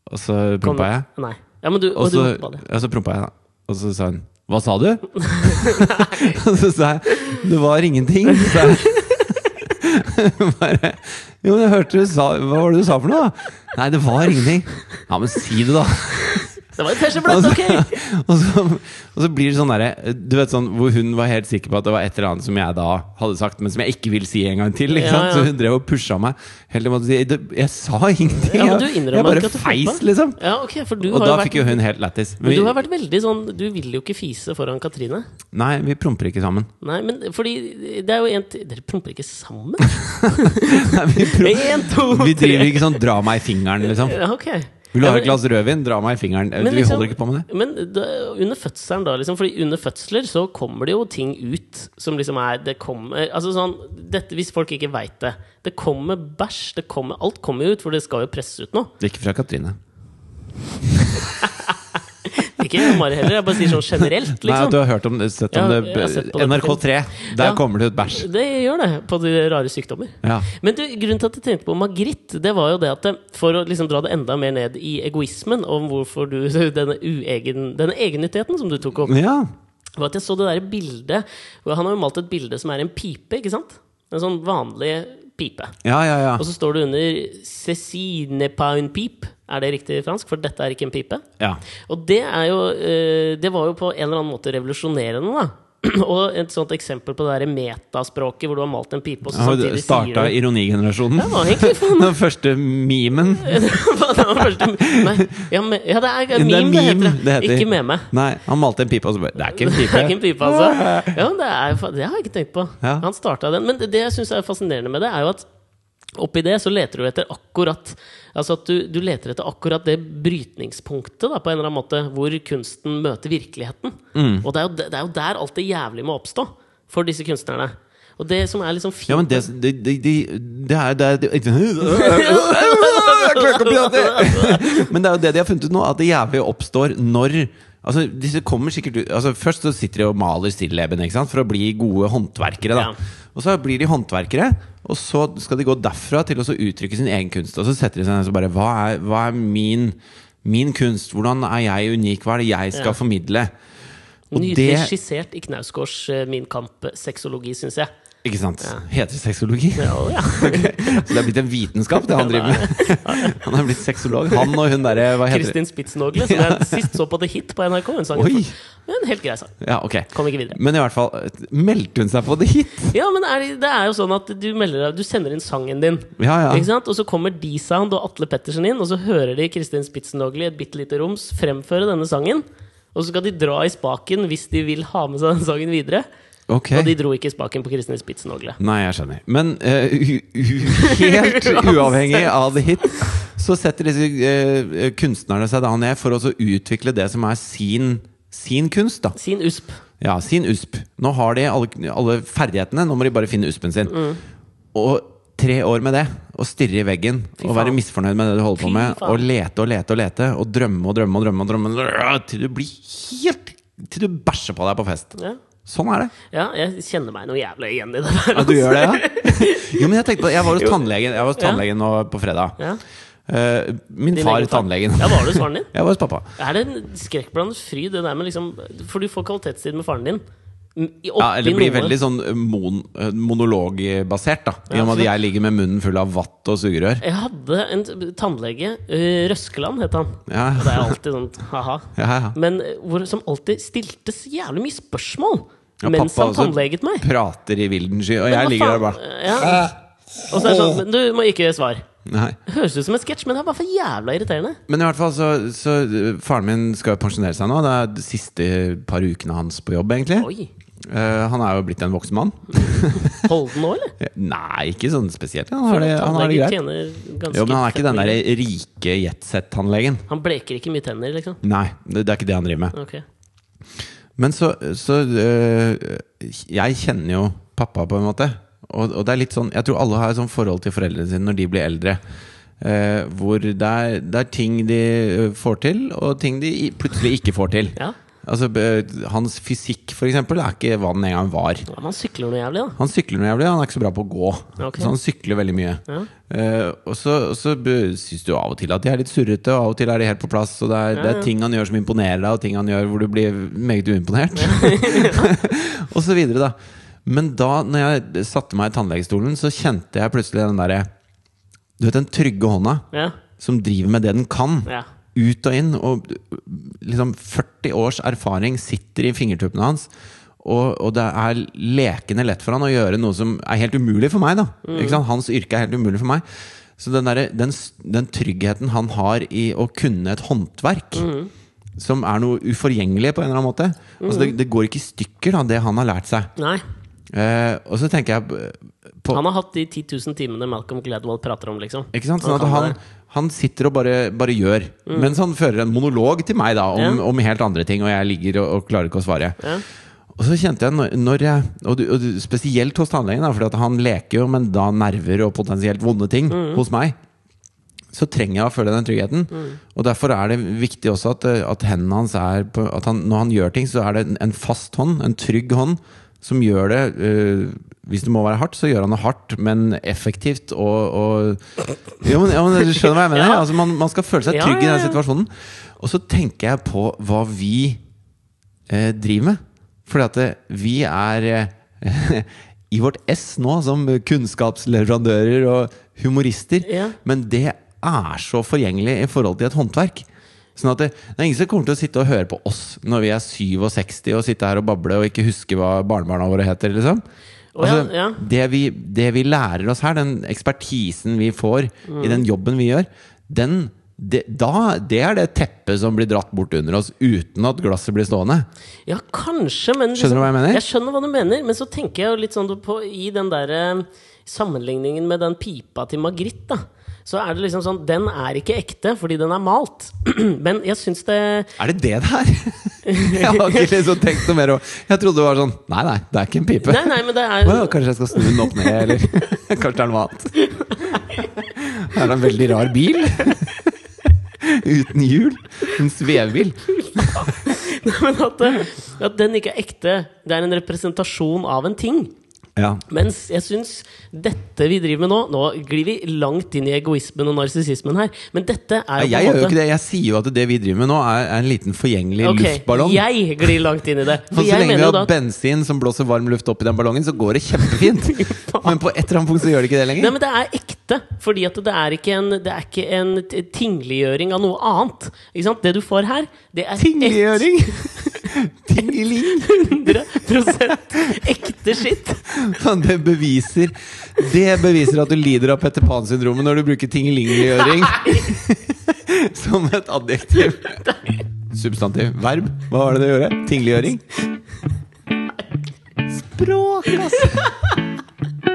Speaker 1: Og så
Speaker 2: Kom-
Speaker 1: prompa jeg.
Speaker 2: Nei. Ja, men du, og
Speaker 1: Og
Speaker 2: du
Speaker 1: så,
Speaker 2: hoppa det.
Speaker 1: og så prompa jeg, da. Og så sa hun 'Hva sa du?' og så sa jeg 'Det var ingenting'. Så jeg bare Jo, men jeg hørte du sa Hva var det du sa for noe, da? Nei, det var ingenting. Ja, men si det, da.
Speaker 2: Det var en tesjeblett, ok!
Speaker 1: og, så, og så blir det sånn derre Du vet sånn hvor hun var helt sikker på at det var et eller annet som jeg da hadde sagt, men som jeg ikke vil si en gang til. Ikke
Speaker 2: Ja,
Speaker 1: sant?
Speaker 2: ja.
Speaker 1: Så hun drev og pusha meg. Helt til jeg måtte si «Det- Jeg sa ingenting.
Speaker 2: Ja, men du
Speaker 1: jeg,
Speaker 2: innrømmer
Speaker 1: jeg bare
Speaker 2: ikke at du
Speaker 1: feis,
Speaker 2: prompa.
Speaker 1: liksom.
Speaker 2: Ja, ok, for du
Speaker 1: Og
Speaker 2: har
Speaker 1: da
Speaker 2: jo vært
Speaker 1: fikk jo hun helt lættis.
Speaker 2: Men
Speaker 1: Vi-
Speaker 2: du har vært veldig sånn Du vil jo ikke fise foran Katrine.
Speaker 1: Nei, vi promper ikke sammen.
Speaker 2: Nei, men fordi det er jo en til Dere promper ikke sammen?
Speaker 1: Nei, vi, prom
Speaker 2: Én, to,
Speaker 1: vi
Speaker 2: tre!
Speaker 1: driver ikke sånn 'dra meg i fingeren', liksom.
Speaker 2: Ja, ok.
Speaker 1: Vil du
Speaker 2: Ja,
Speaker 1: ha et
Speaker 2: men-
Speaker 1: glass rødvin? Dra meg i fingeren.
Speaker 2: men
Speaker 1: vi
Speaker 2: liksom-
Speaker 1: holder ikke på med det.
Speaker 2: Men da, under fødselen, da, liksom? Fordi under fødsler så kommer det jo ting ut som liksom er Det kommer Altså sånn dette, Hvis folk ikke veit det. Det kommer bæsj. Det kommer, alt kommer jo ut, for det skal jo presses ut nå.
Speaker 1: Ikke fra Katrine.
Speaker 2: Ikke Mari heller. Jeg bare sier sånn generelt,
Speaker 1: Nei, at
Speaker 2: liksom.
Speaker 1: du har hørt om, det- sett om
Speaker 2: Ja, jeg har
Speaker 1: det
Speaker 2: sett
Speaker 1: på
Speaker 2: på det på
Speaker 1: NRK3. Der
Speaker 2: Ja.
Speaker 1: kommer det ut bæsj.
Speaker 2: Det gjør det på de rare sykdommer.
Speaker 1: Ja.
Speaker 2: Men du, grunnen til at jeg tenkte på Margrit, det var jo det at eh, For å liksom dra det enda mer ned i egoismen om hvorfor du Denne, uegen, denne egennyttigheten som du tok opp,
Speaker 1: ja.
Speaker 2: var at jeg så det der bildet hvor Han har jo malt et bilde som er en pipe, ikke sant? En sånn vanlig pipe.
Speaker 1: Ja, ja, ja.
Speaker 2: Og så står det under 'Ceci ne pas une pipe'. Er det riktig fransk? For dette er ikke en pipe.
Speaker 1: ja.
Speaker 2: Og det er jo eh, Det var jo på en eller annen måte revolusjonerende, da. Og et sånt eksempel på det der metaspråket hvor du har malt en pipe, og så samtidig sier
Speaker 1: Starta
Speaker 2: du
Speaker 1: ironigenerasjonen.
Speaker 2: Det var egentlig faen
Speaker 1: Den første memen.
Speaker 2: Hva det var første Nei, ja, me, ja, det er
Speaker 1: Det
Speaker 2: meme, det,
Speaker 1: er
Speaker 2: heter,
Speaker 1: meme det heter.
Speaker 2: Ikke meme.
Speaker 1: Nei, han malte en pipe, og så bare Det er ikke en
Speaker 2: Det
Speaker 1: pipe.
Speaker 2: er ikke en pipe, altså. Ja, men det, er, jo fa- det har jeg ikke tenkt på.
Speaker 1: Ja.
Speaker 2: Han startet den. Men det, det jeg syns er fascinerende med det, er jo at Oppi det så leter du etter akkurat Altså at du, du leter etter akkurat det brytningspunktet da, på en eller annen måte hvor kunsten møter virkeligheten.
Speaker 1: Mm.
Speaker 2: Og det er, jo, de- det er jo der alt det jævlige må oppstå for disse kunstnerne. Og det som er liksom fint
Speaker 1: Ja, men det, det, det, det, det er det, er- det Jeg klarer ikke å prate! Men det er jo det de har funnet ut nå, at det jævlig oppstår når Altså, disse kommer sikkert ut altså, Først så sitter de og maler stilleben ikke sant? for å bli gode håndverkere.
Speaker 2: Ja.
Speaker 1: Da. Og så blir de håndverkere, og så skal de gå derfra til å så uttrykke sin egen kunst. Og så setter de seg ned og så bare Hva er, hva er min, min kunst? Hvordan er jeg unik? Hva er det jeg skal
Speaker 2: Ja.
Speaker 1: formidle? Og
Speaker 2: Nydelig
Speaker 1: det
Speaker 2: skissert i Knausgårds eh, Min kamp-sexologi, syns jeg.
Speaker 1: Ikke sant? Heter det sexologi?
Speaker 2: Ja, og ja.
Speaker 1: Så det er blitt en vitenskap, det han driver med. Han er blitt sexolog. Han og hun derre Hva heter det?
Speaker 2: Kristin Spitsnogle, som jeg sist så på The Hit på NRK. Hun sang
Speaker 1: Oi.
Speaker 2: en helt grei sang.
Speaker 1: Ja, ok.
Speaker 2: Kom ikke videre.
Speaker 1: Men i hvert fall, meldte hun seg på The Hit?
Speaker 2: Ja, men er det, det er jo sånn at du, melder, deg- du sender inn sangen din.
Speaker 1: Ja, ja.
Speaker 2: Ikke sant? Og så kommer D-Sound og Atle Pettersen inn, og så hører de Kristin Spitsnogli i et bitte lite roms fremføre denne sangen. Og så skal de dra i spaken hvis de vil ha med seg den sangen videre.
Speaker 1: Ok.
Speaker 2: Og de dro ikke i spaken på Kristin Spitsnogle.
Speaker 1: Nei, jeg skjønner. Men eh, u u helt uavhengig av The Hit, så setter disse eh, kunstnerne seg da ned for å så utvikle det som er sin, sin kunst, da.
Speaker 2: Sin USP.
Speaker 1: Ja, sin USP. Nå har de alle, alle ferdighetene, nå må de bare finne USP-en sin.
Speaker 2: Mm.
Speaker 1: Og tre år med det, å stirre i veggen og
Speaker 2: faen.
Speaker 1: være misfornøyd med det du holder på
Speaker 2: Fy
Speaker 1: med,
Speaker 2: faen.
Speaker 1: og lete og lete og lete, og drømme og drømme og drømme, og drømme til du blir helt Til du bæsjer på deg på fest.
Speaker 2: Ja.
Speaker 1: Sånn er det.
Speaker 2: ja, jeg kjenner meg noe jævlig igjen i det
Speaker 1: Ja, du
Speaker 2: der. altså.
Speaker 1: gjør det, ja? Jo, men jeg tenkte på Jeg var hos tannlegen, jeg var hos tannlegen nå på fredag.
Speaker 2: Ja.
Speaker 1: Eh, min
Speaker 2: Din
Speaker 1: far,
Speaker 2: egen far.
Speaker 1: tannlegen.
Speaker 2: altså. Ja, var det hos faren din?
Speaker 1: Jeg var hos pappa.
Speaker 2: Er det en skrekkblandet fryd, det der med liksom For du får kvalitetstid med faren din. I-
Speaker 1: Ja,
Speaker 2: oppi
Speaker 1: eller blir
Speaker 2: noe.
Speaker 1: veldig sånn mon monologbasert, da. I
Speaker 2: Ja,
Speaker 1: og med
Speaker 2: for-
Speaker 1: at jeg ligger med munnen full av vatt og sugerør.
Speaker 2: Jeg hadde en t- tannlege, eh, Røskeland het han.
Speaker 1: Ja.
Speaker 2: Og det er alltid sånn ha-ha.
Speaker 1: Ja, ja.
Speaker 2: Men eh, hvor, som alltid stilte så jævlig mye spørsmål
Speaker 1: Ja,
Speaker 2: mens
Speaker 1: pappa
Speaker 2: han
Speaker 1: også
Speaker 2: tannleget meg.
Speaker 1: Prater i vilden sky, og jeg
Speaker 2: Hva
Speaker 1: ligger der
Speaker 2: faen?
Speaker 1: bare
Speaker 2: Ja. Og så er det sånn men Du må ikke svare.
Speaker 1: Nei.
Speaker 2: Høres ut som en sketsj, men det er bare for jævla irriterende.
Speaker 1: Men i hvert fall, så, så øh, Faren min skal jo pensjonere seg nå. Det er de siste par ukene hans på jobb, egentlig.
Speaker 2: Oi.
Speaker 1: Eh, han er jo blitt en voksen mann.
Speaker 2: Holden nå, eller?
Speaker 1: Nei, ikke sånn spesielt. Han har det, han har det
Speaker 2: Tannleger
Speaker 1: greit.
Speaker 2: tjener ganske
Speaker 1: Jo, men han er
Speaker 2: fett
Speaker 1: ikke den
Speaker 2: mye.
Speaker 1: der rike jetset-tannlegen.
Speaker 2: Han bleker ikke mye tenner, liksom.
Speaker 1: Nei, det, det er ikke det han driver med.
Speaker 2: Ok.
Speaker 1: Men så, så øh, Jeg kjenner jo pappa, på en måte. Og, og det er litt sånn Jeg tror alle har et sånt forhold til foreldrene sine når de blir eldre. Eh, hvor det er, det er ting de øh, får til, og ting de i- plutselig ikke får til.
Speaker 2: Ja.
Speaker 1: Altså, øh, hans fysikk, for eksempel, er ikke hva den en gang var.
Speaker 2: Ja, men han sykler noe jævlig, da.
Speaker 1: Han sykler noe jævlig, han er ikke så bra på å gå.
Speaker 2: Ok.
Speaker 1: Så han sykler veldig mye.
Speaker 2: Ja.
Speaker 1: Eh, og så, og så b- syns du av og til at de er litt surrete, og av og til er de helt på plass. Og det er, det er ting han gjør som imponerer deg, og ting han gjør hvor du blir meget uimponert. og så videre, da. Men da når jeg satte meg i tannlegestolen, så kjente jeg plutselig den derre Du vet den trygge hånda
Speaker 2: Ja.
Speaker 1: som driver med det den kan.
Speaker 2: Ja.
Speaker 1: Ut og inn. Og liksom 40 års erfaring sitter i fingertuppene hans. Og, og det er lekende lett for han å gjøre noe som er helt umulig for meg. da ikke sant? Hans yrke er helt umulig for meg. Så den, derre- den, s- den tryggheten han har i å kunne et håndverk, som er noe uforgjengelig på en eller annen måte altså det, det går ikke i stykker, da, det han har lært seg.
Speaker 2: Nei.
Speaker 1: Eh, og så tenker jeg på
Speaker 2: Han har hatt de 10 000 timene Malcolm Gladwell prater om, liksom.
Speaker 1: Ikke sant? Sånn
Speaker 2: Han
Speaker 1: at
Speaker 2: kan
Speaker 1: han, han sitter og bare, bare gjør. Mens han fører en monolog til meg da om,
Speaker 2: Mm. Ja.
Speaker 1: om helt andre ting, og jeg ligger og, og klarer ikke å svare.
Speaker 2: Ja.
Speaker 1: Og så kjente jeg, når- når jeg og, du, og du, Spesielt hos tannlegen, da, for han leker jo, men da nerver og potensielt vonde ting
Speaker 2: Mm.
Speaker 1: hos meg. Så trenger jeg å føle den tryggheten. Og Derfor er det viktig også at, eh, at hendene hans er på, at han, Når han gjør ting, så er det en- en fast hånd, en trygg hånd, som gjør det eh, Hvis det må være hardt, så gjør han det hardt, men effektivt og, og jo, men, ja, men Du skjønner hva jeg mener?
Speaker 2: Ja.
Speaker 1: altså, man, man skal føle seg
Speaker 2: Ja,
Speaker 1: trygg i
Speaker 2: ja,
Speaker 1: den
Speaker 2: ja.
Speaker 1: situasjonen. Og så tenker jeg på hva vi eh, driver med. Fordi at eh, vi er eh, i vårt ess nå som kunnskapsleverandører og humorister,
Speaker 2: Ja.
Speaker 1: men det er så forgjengelig i forhold til et håndverk. Sånn at det, det er ingen som kommer til å sitte og høre på oss når vi er 67 og sitte her og bable og ikke huske hva barnebarna våre heter. liksom
Speaker 2: Å ja,
Speaker 1: Altså,
Speaker 2: ja.
Speaker 1: Det, vi,
Speaker 2: Mm.
Speaker 1: det vi lærer oss her, den ekspertisen vi får i den jobben vi gjør, den det, da, det er det teppet som blir dratt bort under oss uten at glasset blir stående.
Speaker 2: Ja, kanskje, men liksom-
Speaker 1: Skjønner du hva jeg mener?
Speaker 2: Jeg skjønner hva du mener, men så tenker jeg jo litt sånn på I den der eh, sammenligningen med den pipa til Margrit, da. Så er det liksom sånn Den er ikke ekte fordi den er malt. men jeg syns det
Speaker 1: Er det det det er? Jeg har ikke liksom tenkt noe mer over- Jeg trodde det var sånn Nei, nei, det er ikke en pipe.
Speaker 2: Nei, nei, men det er
Speaker 1: Å ja, kanskje jeg skal snu den opp ned, eller Kanskje det er noe annet. Det er da en veldig rar bil. Uten hjul. En svevebil.
Speaker 2: men at, det- at den ikke er ekte. Det er en representasjon av en ting.
Speaker 1: Ja.
Speaker 2: Mens jeg syns dette vi driver med nå Nå glir vi langt inn i egoismen og narsissismen her, men dette er
Speaker 1: Nei,
Speaker 2: jo på en
Speaker 1: jeg gjør jo
Speaker 2: måte-
Speaker 1: ikke det. Jeg sier jo at det vi driver med nå, er, er en liten forgjengelig
Speaker 2: Ok,
Speaker 1: luftballong.
Speaker 2: Jeg glir langt inn i det.
Speaker 1: For
Speaker 2: For
Speaker 1: så
Speaker 2: jeg
Speaker 1: lenge vi
Speaker 2: mener jo
Speaker 1: har
Speaker 2: da at
Speaker 1: bensin som blåser varm luft opp i den ballongen, så går det kjempefint. Men på et eller annet punkt så gjør det ikke det
Speaker 2: Nei,
Speaker 1: lenger.
Speaker 2: men det er ekte. Fordi at det er ikke en, det er ikke en t- tingliggjøring av noe annet. Ikke sant? Det du får her, det er
Speaker 1: Tingliggjøring! Tingeling!
Speaker 2: 100 ekte skitt.
Speaker 1: Faen, Det beviser Det beviser at du lider av Petter Pan-syndromet når du bruker tingelingeliggjøring som et adjektiv. Substantiv. Verb. Hva var det det gjorde? Tingeliggjøring? Språk, altså!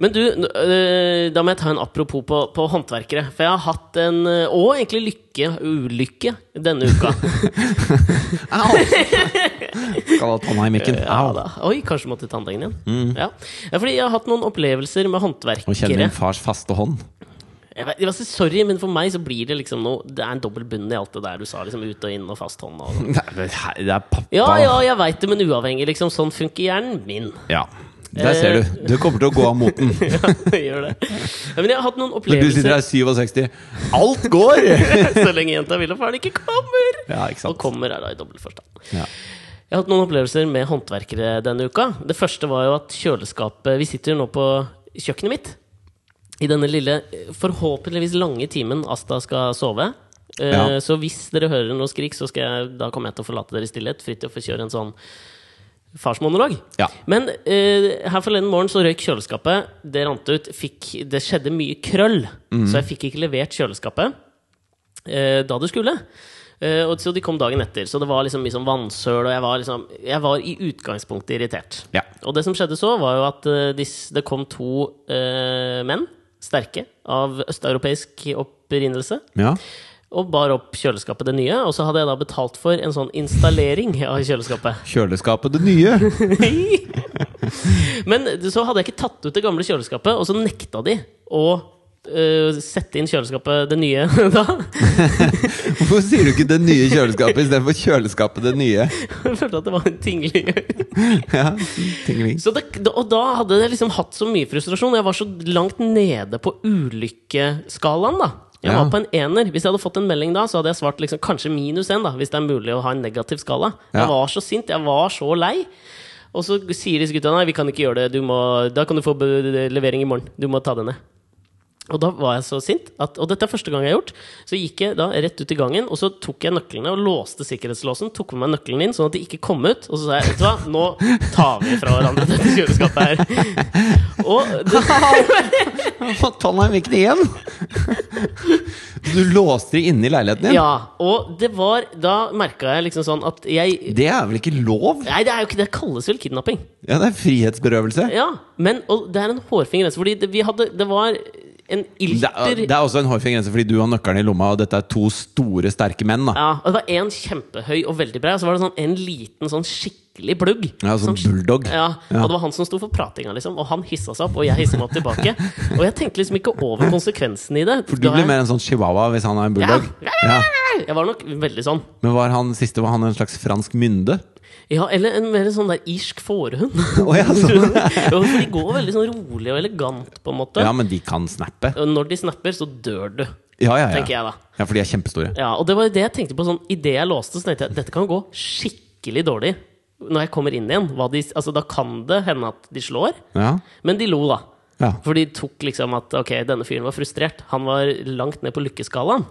Speaker 2: Men du, n- øh, da må jeg ta en apropos på, på håndverkere. For jeg har hatt en øh, Og egentlig lykke, ulykke, denne uka.
Speaker 1: Au! Skal ha tanna i mikken.
Speaker 2: Ja,
Speaker 1: Au.
Speaker 2: da. Oi, kanskje måtte til tannlegen igjen. Ja. ja, fordi jeg har hatt noen opplevelser
Speaker 1: Mm. Nå
Speaker 2: med
Speaker 1: kjenner
Speaker 2: håndverkere.
Speaker 1: min fars faste hånd.
Speaker 2: Jeg vet, altså, sorry, men for meg så blir det liksom noe Det er en dobbel bunn i alt det der du sa. Liksom ut og inn og fast hånd og sånn.
Speaker 1: Det er- det er pappa.
Speaker 2: Ja, ja, jeg veit det, men uavhengig, liksom. Sånn funker hjernen min.
Speaker 1: Ja. Der ser du. Du kommer til å gå av moten.
Speaker 2: Ja, jeg gjør det. Ja, men jeg har hatt noen
Speaker 1: Når du sitter
Speaker 2: opplevelser
Speaker 1: her 67. Alt går!
Speaker 2: så lenge jenta vil og faren ikke kommer.
Speaker 1: Ja, ikke
Speaker 2: Og
Speaker 1: sant.
Speaker 2: kommer er da i dobbel forstand.
Speaker 1: Ja.
Speaker 2: Jeg har hatt noen opplevelser med håndverkere denne uka. Det første var jo at kjøleskapet Vi sitter jo nå på kjøkkenet mitt. I denne lille, forhåpentligvis lange timen Asta skal sove. Eh,
Speaker 1: Ja.
Speaker 2: Så hvis dere hører noe skrik, så skal jeg, da kommer jeg til å forlate dere i stillhet. Fridtjof får kjøre en sånn farsmonolog.
Speaker 1: Ja.
Speaker 2: Men eh, her forleden morgen så røyk kjøleskapet. Det rant ut. Fikk, det skjedde mye krøll, så jeg fikk ikke levert kjøleskapet eh, da det skulle. Eh, og så de kom dagen etter. Så det var liksom mye sånn vannsøl, og jeg var, liksom, jeg var i utgangspunktet irritert.
Speaker 1: Ja.
Speaker 2: Og det som skjedde så, var jo at eh, dis- det kom to eh, menn, sterke, av østeuropeisk opprinnelse.
Speaker 1: ja.
Speaker 2: Og bar opp kjøleskapet det nye, og så hadde jeg da betalt for en sånn installering av kjøleskapet.
Speaker 1: Kjøleskapet det nye.
Speaker 2: Men så hadde jeg ikke tatt ut det gamle kjøleskapet, og så nekta de å eh, sette inn kjøleskapet det nye da.
Speaker 1: Hvorfor sier du ikke 'det nye kjøleskapet' istedenfor 'kjøleskapet det nye'?
Speaker 2: Jeg følte at det var en tinglig
Speaker 1: Ja, tingling.
Speaker 2: Så det, det- og da hadde jeg liksom hatt så mye frustrasjon. Jeg var så langt nede på ulykkeskalaen, da. Jeg
Speaker 1: Ja.
Speaker 2: var på en ener. Hvis jeg hadde fått en melding da, så hadde jeg svart liksom, kanskje minus én, da, hvis det er mulig å ha en negativ skala.
Speaker 1: Ja.
Speaker 2: Jeg var så sint. Jeg var så lei. Og så sier disse gutta nei, vi kan ikke gjøre det. Du må, da kan du få be- levering i morgen. Du må ta det ned. Og da var jeg så sint, at, og dette er første gang jeg har gjort. Så gikk jeg da rett ut i gangen, og så tok jeg nøklene og låste sikkerhetslåsen. Tok med meg nøkkelen inn, sånn at de ikke kom ut. Og så sa jeg vet du hva, nå tar vi fra hverandre dette kjøleskapet her. Og det,
Speaker 1: Tanna i mikken igjen! Du låste de inne i leiligheten din?
Speaker 2: ja, og det var Da merka jeg liksom sånn at jeg
Speaker 1: Det er vel ikke lov?
Speaker 2: Nei, det er jo ikke det. kalles vel kidnapping.
Speaker 1: Ja, det er frihetsberøvelse.
Speaker 2: Ja, men og det er en hårfin grense. Fordi det, vi hadde Det var en
Speaker 1: Det er,
Speaker 2: ilter
Speaker 1: det er også en hårfin grense, fordi du har nøkkelen i lomma, og dette er to store, sterke menn. da
Speaker 2: Ja, og det var en kjempehøy og veldig brei, og så var det sånn en liten, sånn skikkelig plugg.
Speaker 1: Ja, Sånn bulldog.
Speaker 2: Ja,
Speaker 1: Ja.
Speaker 2: og det var han som sto for pratinga, liksom. Og han hissa seg opp, og jeg hissa meg opp tilbake. Og jeg tenkte liksom ikke over konsekvensen i det.
Speaker 1: For du
Speaker 2: Da
Speaker 1: blir
Speaker 2: jeg-
Speaker 1: mer en sånn chihuahua hvis han er en bulldog.
Speaker 2: Ja.
Speaker 1: Ja.
Speaker 2: Jeg var nok veldig sånn.
Speaker 1: Men var han siste var han en slags fransk mynde?
Speaker 2: Ja, eller en mer sånn der irsk fårehund.
Speaker 1: Å, ja, sånn.
Speaker 2: Jo, for de går veldig sånn rolig og elegant, på en måte.
Speaker 1: Ja, men de kan snappe.
Speaker 2: Og når de snapper, så dør du,
Speaker 1: Ja, ja,
Speaker 2: tenker
Speaker 1: ja.
Speaker 2: jeg da.
Speaker 1: Ja, for de er kjempestore.
Speaker 2: Ja, og det var jo det jeg tenkte på sånn Idet jeg låste, så tenkte jeg dette kan gå skikkelig dårlig når jeg kommer inn igjen. Hva de, altså, da kan det hende at de slår.
Speaker 1: Ja,
Speaker 2: Men de lo, da.
Speaker 1: ja.
Speaker 2: For de tok liksom at ok, denne fyren var frustrert. Han var langt ned på lykkeskalaen.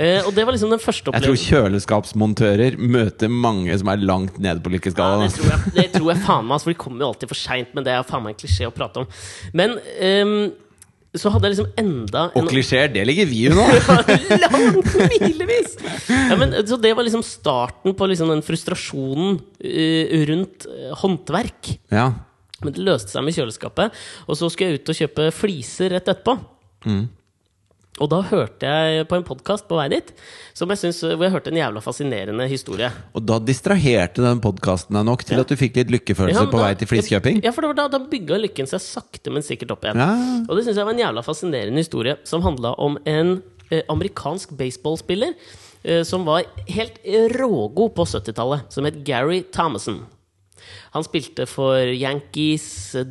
Speaker 2: Eh, og det var liksom den første
Speaker 1: Jeg tror
Speaker 2: opplevelsen.
Speaker 1: kjøleskapsmontører møter mange som er langt nede på
Speaker 2: Ja,
Speaker 1: lykkeskalaen.
Speaker 2: det,
Speaker 1: ass.
Speaker 2: tror jeg, det tror jeg faen meg, altså, for de kommer jo alltid for seint. Men det er faen meg en klisjé å prate om. Men ehm, så hadde jeg liksom enda en-
Speaker 1: Og klisjeer, det ligger vi jo nå!
Speaker 2: Langt milevis! Ja, men, så det var liksom starten på liksom den frustrasjonen eh, rundt eh, håndverk.
Speaker 1: Ja.
Speaker 2: Men det løste seg med kjøleskapet. Og så skulle jeg ut og kjøpe fliser rett etterpå. Og da hørte jeg på en podkast på vei dit som jeg synes, hvor jeg hørte en jævla fascinerende historie.
Speaker 1: Og da distraherte den podkasten deg nok til at du fikk litt
Speaker 2: Ja,
Speaker 1: lykkefølelse
Speaker 2: men
Speaker 1: på
Speaker 2: da-
Speaker 1: vei til fliskjøping?
Speaker 2: Ja, for det var da, da bygga lykken seg sakte, men sikkert opp igjen.
Speaker 1: Ja.
Speaker 2: Og det syns jeg var en jævla fascinerende historie som handla om en eh, amerikansk baseballspiller eh, som var helt rågod på 70-tallet, som het Gary Thomason. Han spilte for Yankees,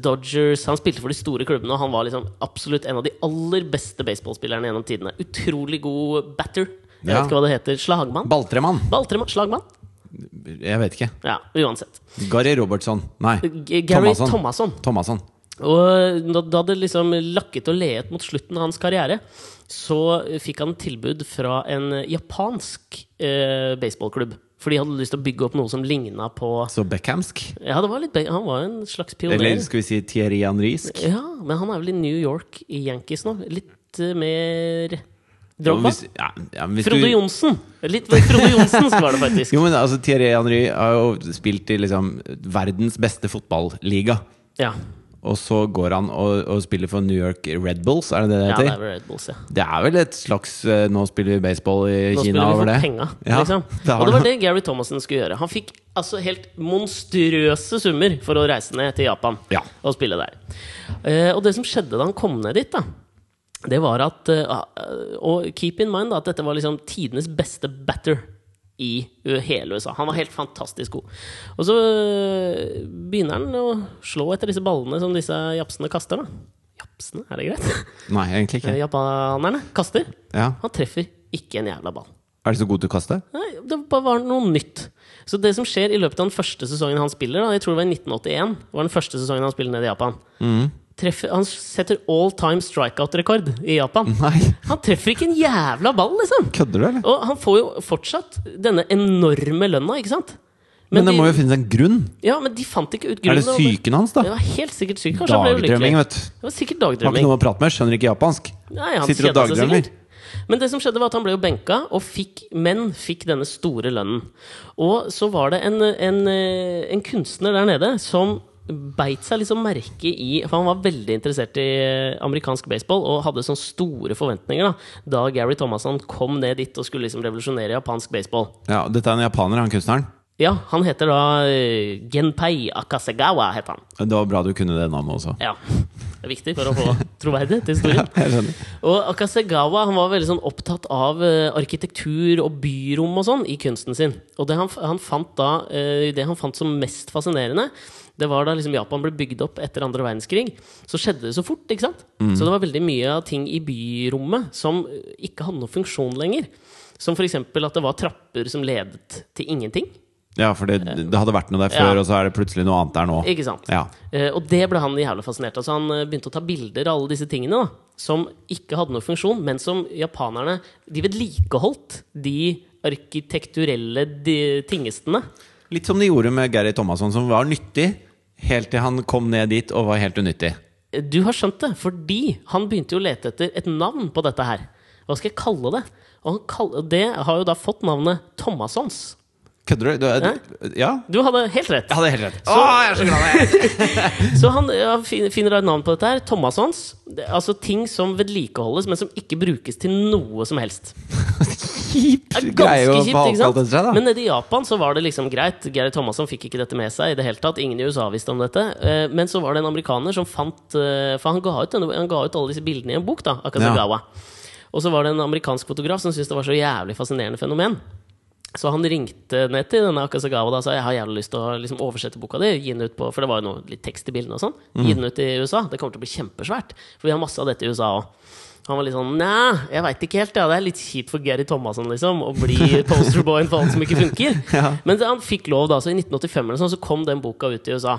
Speaker 2: Dodgers, han spilte for de store klubbene. Og han var liksom absolutt en av de aller beste baseballspillerne gjennom tidene. Utrolig god batter. Jeg
Speaker 1: Ja.
Speaker 2: vet ikke hva det heter. Slagmann?
Speaker 1: Baltremann?
Speaker 2: Baltremann? Slagmann?
Speaker 1: Jeg vet ikke.
Speaker 2: Ja, uansett.
Speaker 1: Gary Robertson. Nei.
Speaker 2: G- Gary
Speaker 1: Thomasson.
Speaker 2: Thomasson.
Speaker 1: Thomasson.
Speaker 2: Og da, da det liksom lakket og leet mot slutten av hans karriere, så fikk han tilbud fra en japansk eh, baseballklubb. For de hadde lyst til å bygge opp noe som ligna på
Speaker 1: Så Beckhamsk.
Speaker 2: Ja, det var litt, be- han var en slags pioner.
Speaker 1: Eller skal vi si Thierry Henrisk?
Speaker 2: Ja, Men han er vel i New York i Yankees nå. Litt eh, mer
Speaker 1: Og
Speaker 2: Drogba?
Speaker 1: hvis- ja, ja, men hvis du-
Speaker 2: Frode Johnsen! Litt Frode Johnsen var det faktisk.
Speaker 1: Jo, men altså, Thierry Henry har jo spilt i liksom verdens beste fotballiga.
Speaker 2: Ja,
Speaker 1: Og så går han og, og spiller for New York Red Bulls, er det det det
Speaker 2: ja det
Speaker 1: heter?
Speaker 2: er vel Red Bulls, ja.
Speaker 1: Det er vel et slags eh, Nå spiller vi baseball i Kina
Speaker 2: Nå spiller vi
Speaker 1: over
Speaker 2: for
Speaker 1: det.
Speaker 2: penga,
Speaker 1: Ja,
Speaker 2: liksom.
Speaker 1: det har
Speaker 2: Og det var
Speaker 1: det.
Speaker 2: det Gary Thomassen skulle gjøre. Han fikk altså helt monstrøse summer for å reise ned til Japan
Speaker 1: Ja.
Speaker 2: og spille der. Eh, og det som skjedde da han kom ned dit, da, det var at eh, ah, Og keep in mind da, at dette var liksom tidenes beste batter i eh, hele USA. Han var helt fantastisk god. Og så eh, begynner han å slå etter disse ballene som disse japsene kaster, da. Japsene, er det greit?
Speaker 1: Nei, egentlig ikke.
Speaker 2: Japanerne kaster.
Speaker 1: Ja.
Speaker 2: Han treffer ikke en jævla ball.
Speaker 1: Er du så god til å kaste?
Speaker 2: Nei, det bare var noe nytt. Så det som skjer i løpet av den første sesongen han spiller, da, jeg tror det var i 1981, var den første sesongen han spiller nede i Japan
Speaker 1: Mm.
Speaker 2: treffer, Han setter all time strikeout-rekord i Japan.
Speaker 1: Nei.
Speaker 2: Han treffer ikke en jævla ball, liksom!
Speaker 1: Kødder du, eller?
Speaker 2: Og han får jo fortsatt denne enorme lønna, ikke sant?
Speaker 1: Men, det
Speaker 2: de,
Speaker 1: må jo finnes en grunn.
Speaker 2: ja, men de fant ikke ut
Speaker 1: Er
Speaker 2: grunnen.
Speaker 1: det psyken hans,
Speaker 2: Det
Speaker 1: da?
Speaker 2: var helt sikkert syk. Kanskje han ble
Speaker 1: Dagdrømming,
Speaker 2: ulykkelig.
Speaker 1: vet du.
Speaker 2: Det var sikkert
Speaker 1: Har
Speaker 2: dagdrømming.
Speaker 1: ikke noe å prate med, skjønner ikke japansk.
Speaker 2: Nei, han
Speaker 1: Sitter og
Speaker 2: kjeda seg
Speaker 1: dagdrømmer.
Speaker 2: sikkert. Men det som skjedde var at han ble jo benka, og fikk, men fikk denne store lønnen. Og så var det en, en, eh, en kunstner der nede som beit seg liksom merke i For han var veldig interessert i eh, amerikansk baseball og hadde sånne store forventninger da, da Gary Thomasson kom ned dit og skulle liksom revolusjonere japansk baseball.
Speaker 1: Ja, dette er en japaner, han kunstneren.
Speaker 2: Ja, han heter da eh, Genpei Akasegawa, het han.
Speaker 1: Det var bra du kunne det navnet også.
Speaker 2: Ja. Det er viktig for å få troverdighet til historien.
Speaker 1: Jeg skjønner.
Speaker 2: Og Akasegawa han var veldig sånn opptatt av eh, arkitektur og byrom og sånn i kunsten sin. Og det han, f- han fant da, eh, det han fant som mest fascinerende, det var da liksom Japan ble bygd opp etter andre verdenskrig. Så skjedde det så fort. ikke sant? Så det var veldig mye av ting i byrommet som eh, ikke hadde noen funksjon lenger. Som f.eks. at det var trapper som ledet til ingenting.
Speaker 1: Ja, for det, det hadde vært noe der før,
Speaker 2: Ja.
Speaker 1: og så er det plutselig noe annet der nå.
Speaker 2: Ikke sant?
Speaker 1: Ja.
Speaker 2: Eh, og det ble han jævla fascinert av. Så han eh, begynte å ta bilder av alle disse tingene da, som ikke hadde noen funksjon, men som japanerne De vedlikeholdt de arkitekturelle de tingestene.
Speaker 1: Litt som de gjorde med Gary Thomasson, som var nyttig helt til han kom ned dit og var helt unyttig.
Speaker 2: Eh, Du har skjønt det, fordi han begynte jo å lete etter et navn på dette her. Hva skal jeg kalle det? Og han kall- og det har jo da fått navnet Thomassons.
Speaker 1: Kødder du? du er, ja?
Speaker 2: Du hadde helt rett.
Speaker 1: Jeg hadde helt rett.
Speaker 2: Så-
Speaker 1: Å, jeg er så glad jeg er!
Speaker 2: Så han ja, fin- finner da et navn på dette her. Thomassons. Det- Altså ting som vedlikeholdes, men som ikke brukes til noe som helst.
Speaker 1: Kjipt
Speaker 2: Det er
Speaker 1: greie å få
Speaker 2: ganske kjipt, ikke
Speaker 1: alt etter seg,
Speaker 2: sant?
Speaker 1: da.
Speaker 2: Men nede i Japan så var det liksom greit. Geir Thomasson fikk ikke dette med seg i det hele tatt. Ingen i USA visste om dette. Eh, Men så var det en amerikaner som fant eh, For han ga ut, denne- han ga ut alle disse bildene i en bok, da. Akasegawa. Og så var det en amerikansk fotograf som syntes det var så jævlig fascinerende fenomen. Så han ringte ned til denne Akasegawa da, og sa jeg har jævlig lyst til å liksom oversette boka di. Gi den ut på, for det var jo noe litt tekst i bildene og sånn.
Speaker 1: Mm.
Speaker 2: Gi den ut i USA. Det kommer til å bli kjempesvært. For vi har masse av dette i USA òg. Han var litt sånn Nei, jeg veit ikke helt. Ja. Det er litt kjipt for Gary Thomasson liksom, å bli posterboyen for alt som ikke funker. Men han fikk lov, da. Så i 1985 eller sånn, så kom den boka ut i USA.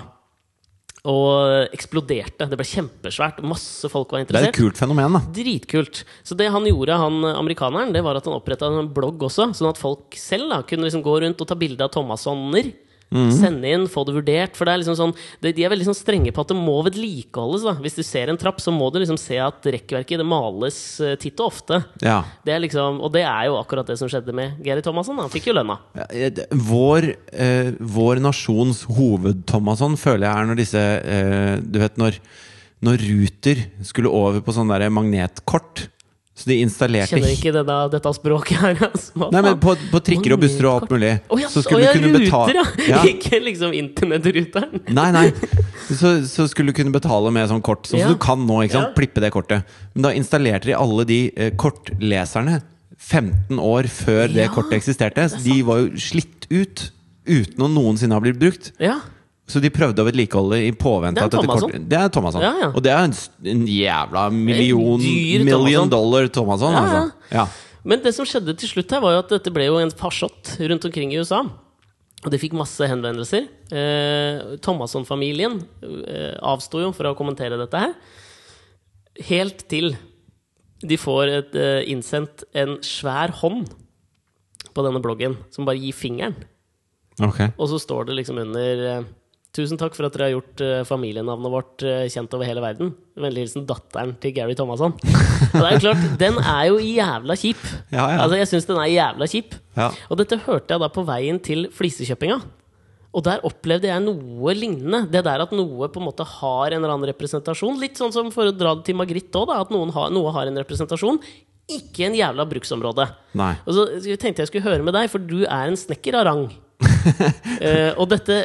Speaker 2: Og eksploderte. Det ble kjempesvært. Masse folk
Speaker 1: Det
Speaker 2: var
Speaker 1: er
Speaker 2: interessert.
Speaker 1: et kult fenomen, da.
Speaker 2: Dritkult. Så det han gjorde, han eh, amerikaneren, det var at han oppretta en blogg også, sånn at folk selv da kunne liksom gå rundt og ta bilde av Thomassoner.
Speaker 1: Mhm.
Speaker 2: Sende inn, få det vurdert. For det er liksom sånn de, de er veldig sånn strenge på at det må vedlikeholdes. da Hvis du ser en trapp, så må du liksom se at rekkverket det males eh, titt og ofte.
Speaker 1: Ja.
Speaker 2: Det er liksom, og det er jo akkurat det som skjedde med Gary Thomasson. da. Han fikk jo lønna.
Speaker 1: Ja, det- Vår, eh, vår nasjons hoved-Thomasson føler jeg er når disse eh, Du vet når, når Ruter skulle over på sånne der magnetkort. Så de installerte
Speaker 2: Kjenner ikke denne, dette språket her. Altså. Hva
Speaker 1: Nei, men
Speaker 2: faen?
Speaker 1: på, på trikker og busser og alt mulig.
Speaker 2: Å ja,
Speaker 1: Så
Speaker 2: å
Speaker 1: skulle
Speaker 2: ja,
Speaker 1: du kunne
Speaker 2: ruter,
Speaker 1: betale
Speaker 2: ja!
Speaker 1: ja.
Speaker 2: Ikke liksom internettruteren.
Speaker 1: Nei, nei. Så, så skulle du kunne betale med sånn kort, sånn
Speaker 2: Ja.
Speaker 1: som du kan nå. ikke sant?
Speaker 2: Ja.
Speaker 1: Plippe det kortet. Men da installerte de alle de eh, kortleserne 15 år før det
Speaker 2: Ja,
Speaker 1: kortet eksisterte. Så de var jo slitt ut uten å noensinne ha blitt brukt.
Speaker 2: Ja.
Speaker 1: Så de prøvde å vedlikeholde i påvente
Speaker 2: Det er
Speaker 1: av dette
Speaker 2: Thomasson.
Speaker 1: kortet Det er Thomasson.
Speaker 2: Ja, ja.
Speaker 1: Og det er en, s- en jævla million
Speaker 2: dyr Thomasson.
Speaker 1: million dollar Thomasson,
Speaker 2: Ja, ja.
Speaker 1: altså. Ja.
Speaker 2: Men det som skjedde til slutt her, var jo at dette ble jo en farsott rundt omkring i USA. Og de fikk masse henvendelser. Eh, Thomasson-familien eh, avsto jo fra å kommentere dette her. Helt til de får et, eh, innsendt en svær hånd på denne bloggen, som bare gir fingeren.
Speaker 1: Ok.
Speaker 2: Og så står det liksom under eh, Tusen takk for at dere har gjort eh, familienavnet vårt eh, kjent over hele verden. Vennlig hilsen datteren til Gary Thomasson. Og det er jo klart, den er jo jævla kjip.
Speaker 1: Ja, ja.
Speaker 2: Altså, jeg syns den er jævla kjip.
Speaker 1: Ja.
Speaker 2: Og dette hørte jeg da på veien til flisekjøpinga. Og der opplevde jeg noe lignende. Det der at noe på en måte har en eller annen representasjon. Litt sånn som for å dra det til Margrit òg, at noen har, noe har en representasjon. Ikke en jævla bruksområde.
Speaker 1: Nei.
Speaker 2: Og så tenkte jeg skulle høre med deg, for du er en snekker av rang. Eh, og dette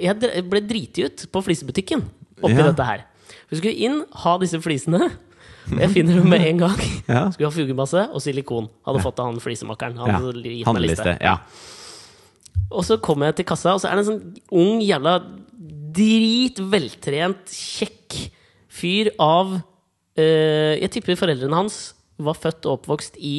Speaker 2: Jeg dre- ble driti ut på flisebutikken oppi
Speaker 1: Ja.
Speaker 2: dette her. Vi skulle inn, ha disse flisene. Jeg finner dem med en gang.
Speaker 1: Ja.
Speaker 2: Skulle ha fugemasse og silikon. Hadde fått av han flisemakeren. Han
Speaker 1: Ja.
Speaker 2: hadde gitt meg
Speaker 1: Handleliste.
Speaker 2: liste.
Speaker 1: Ja.
Speaker 2: Og så kommer jeg til kassa, og så er det en sånn ung, jævla dritveltrent, kjekk fyr av eh, Jeg tipper foreldrene hans var født og oppvokst i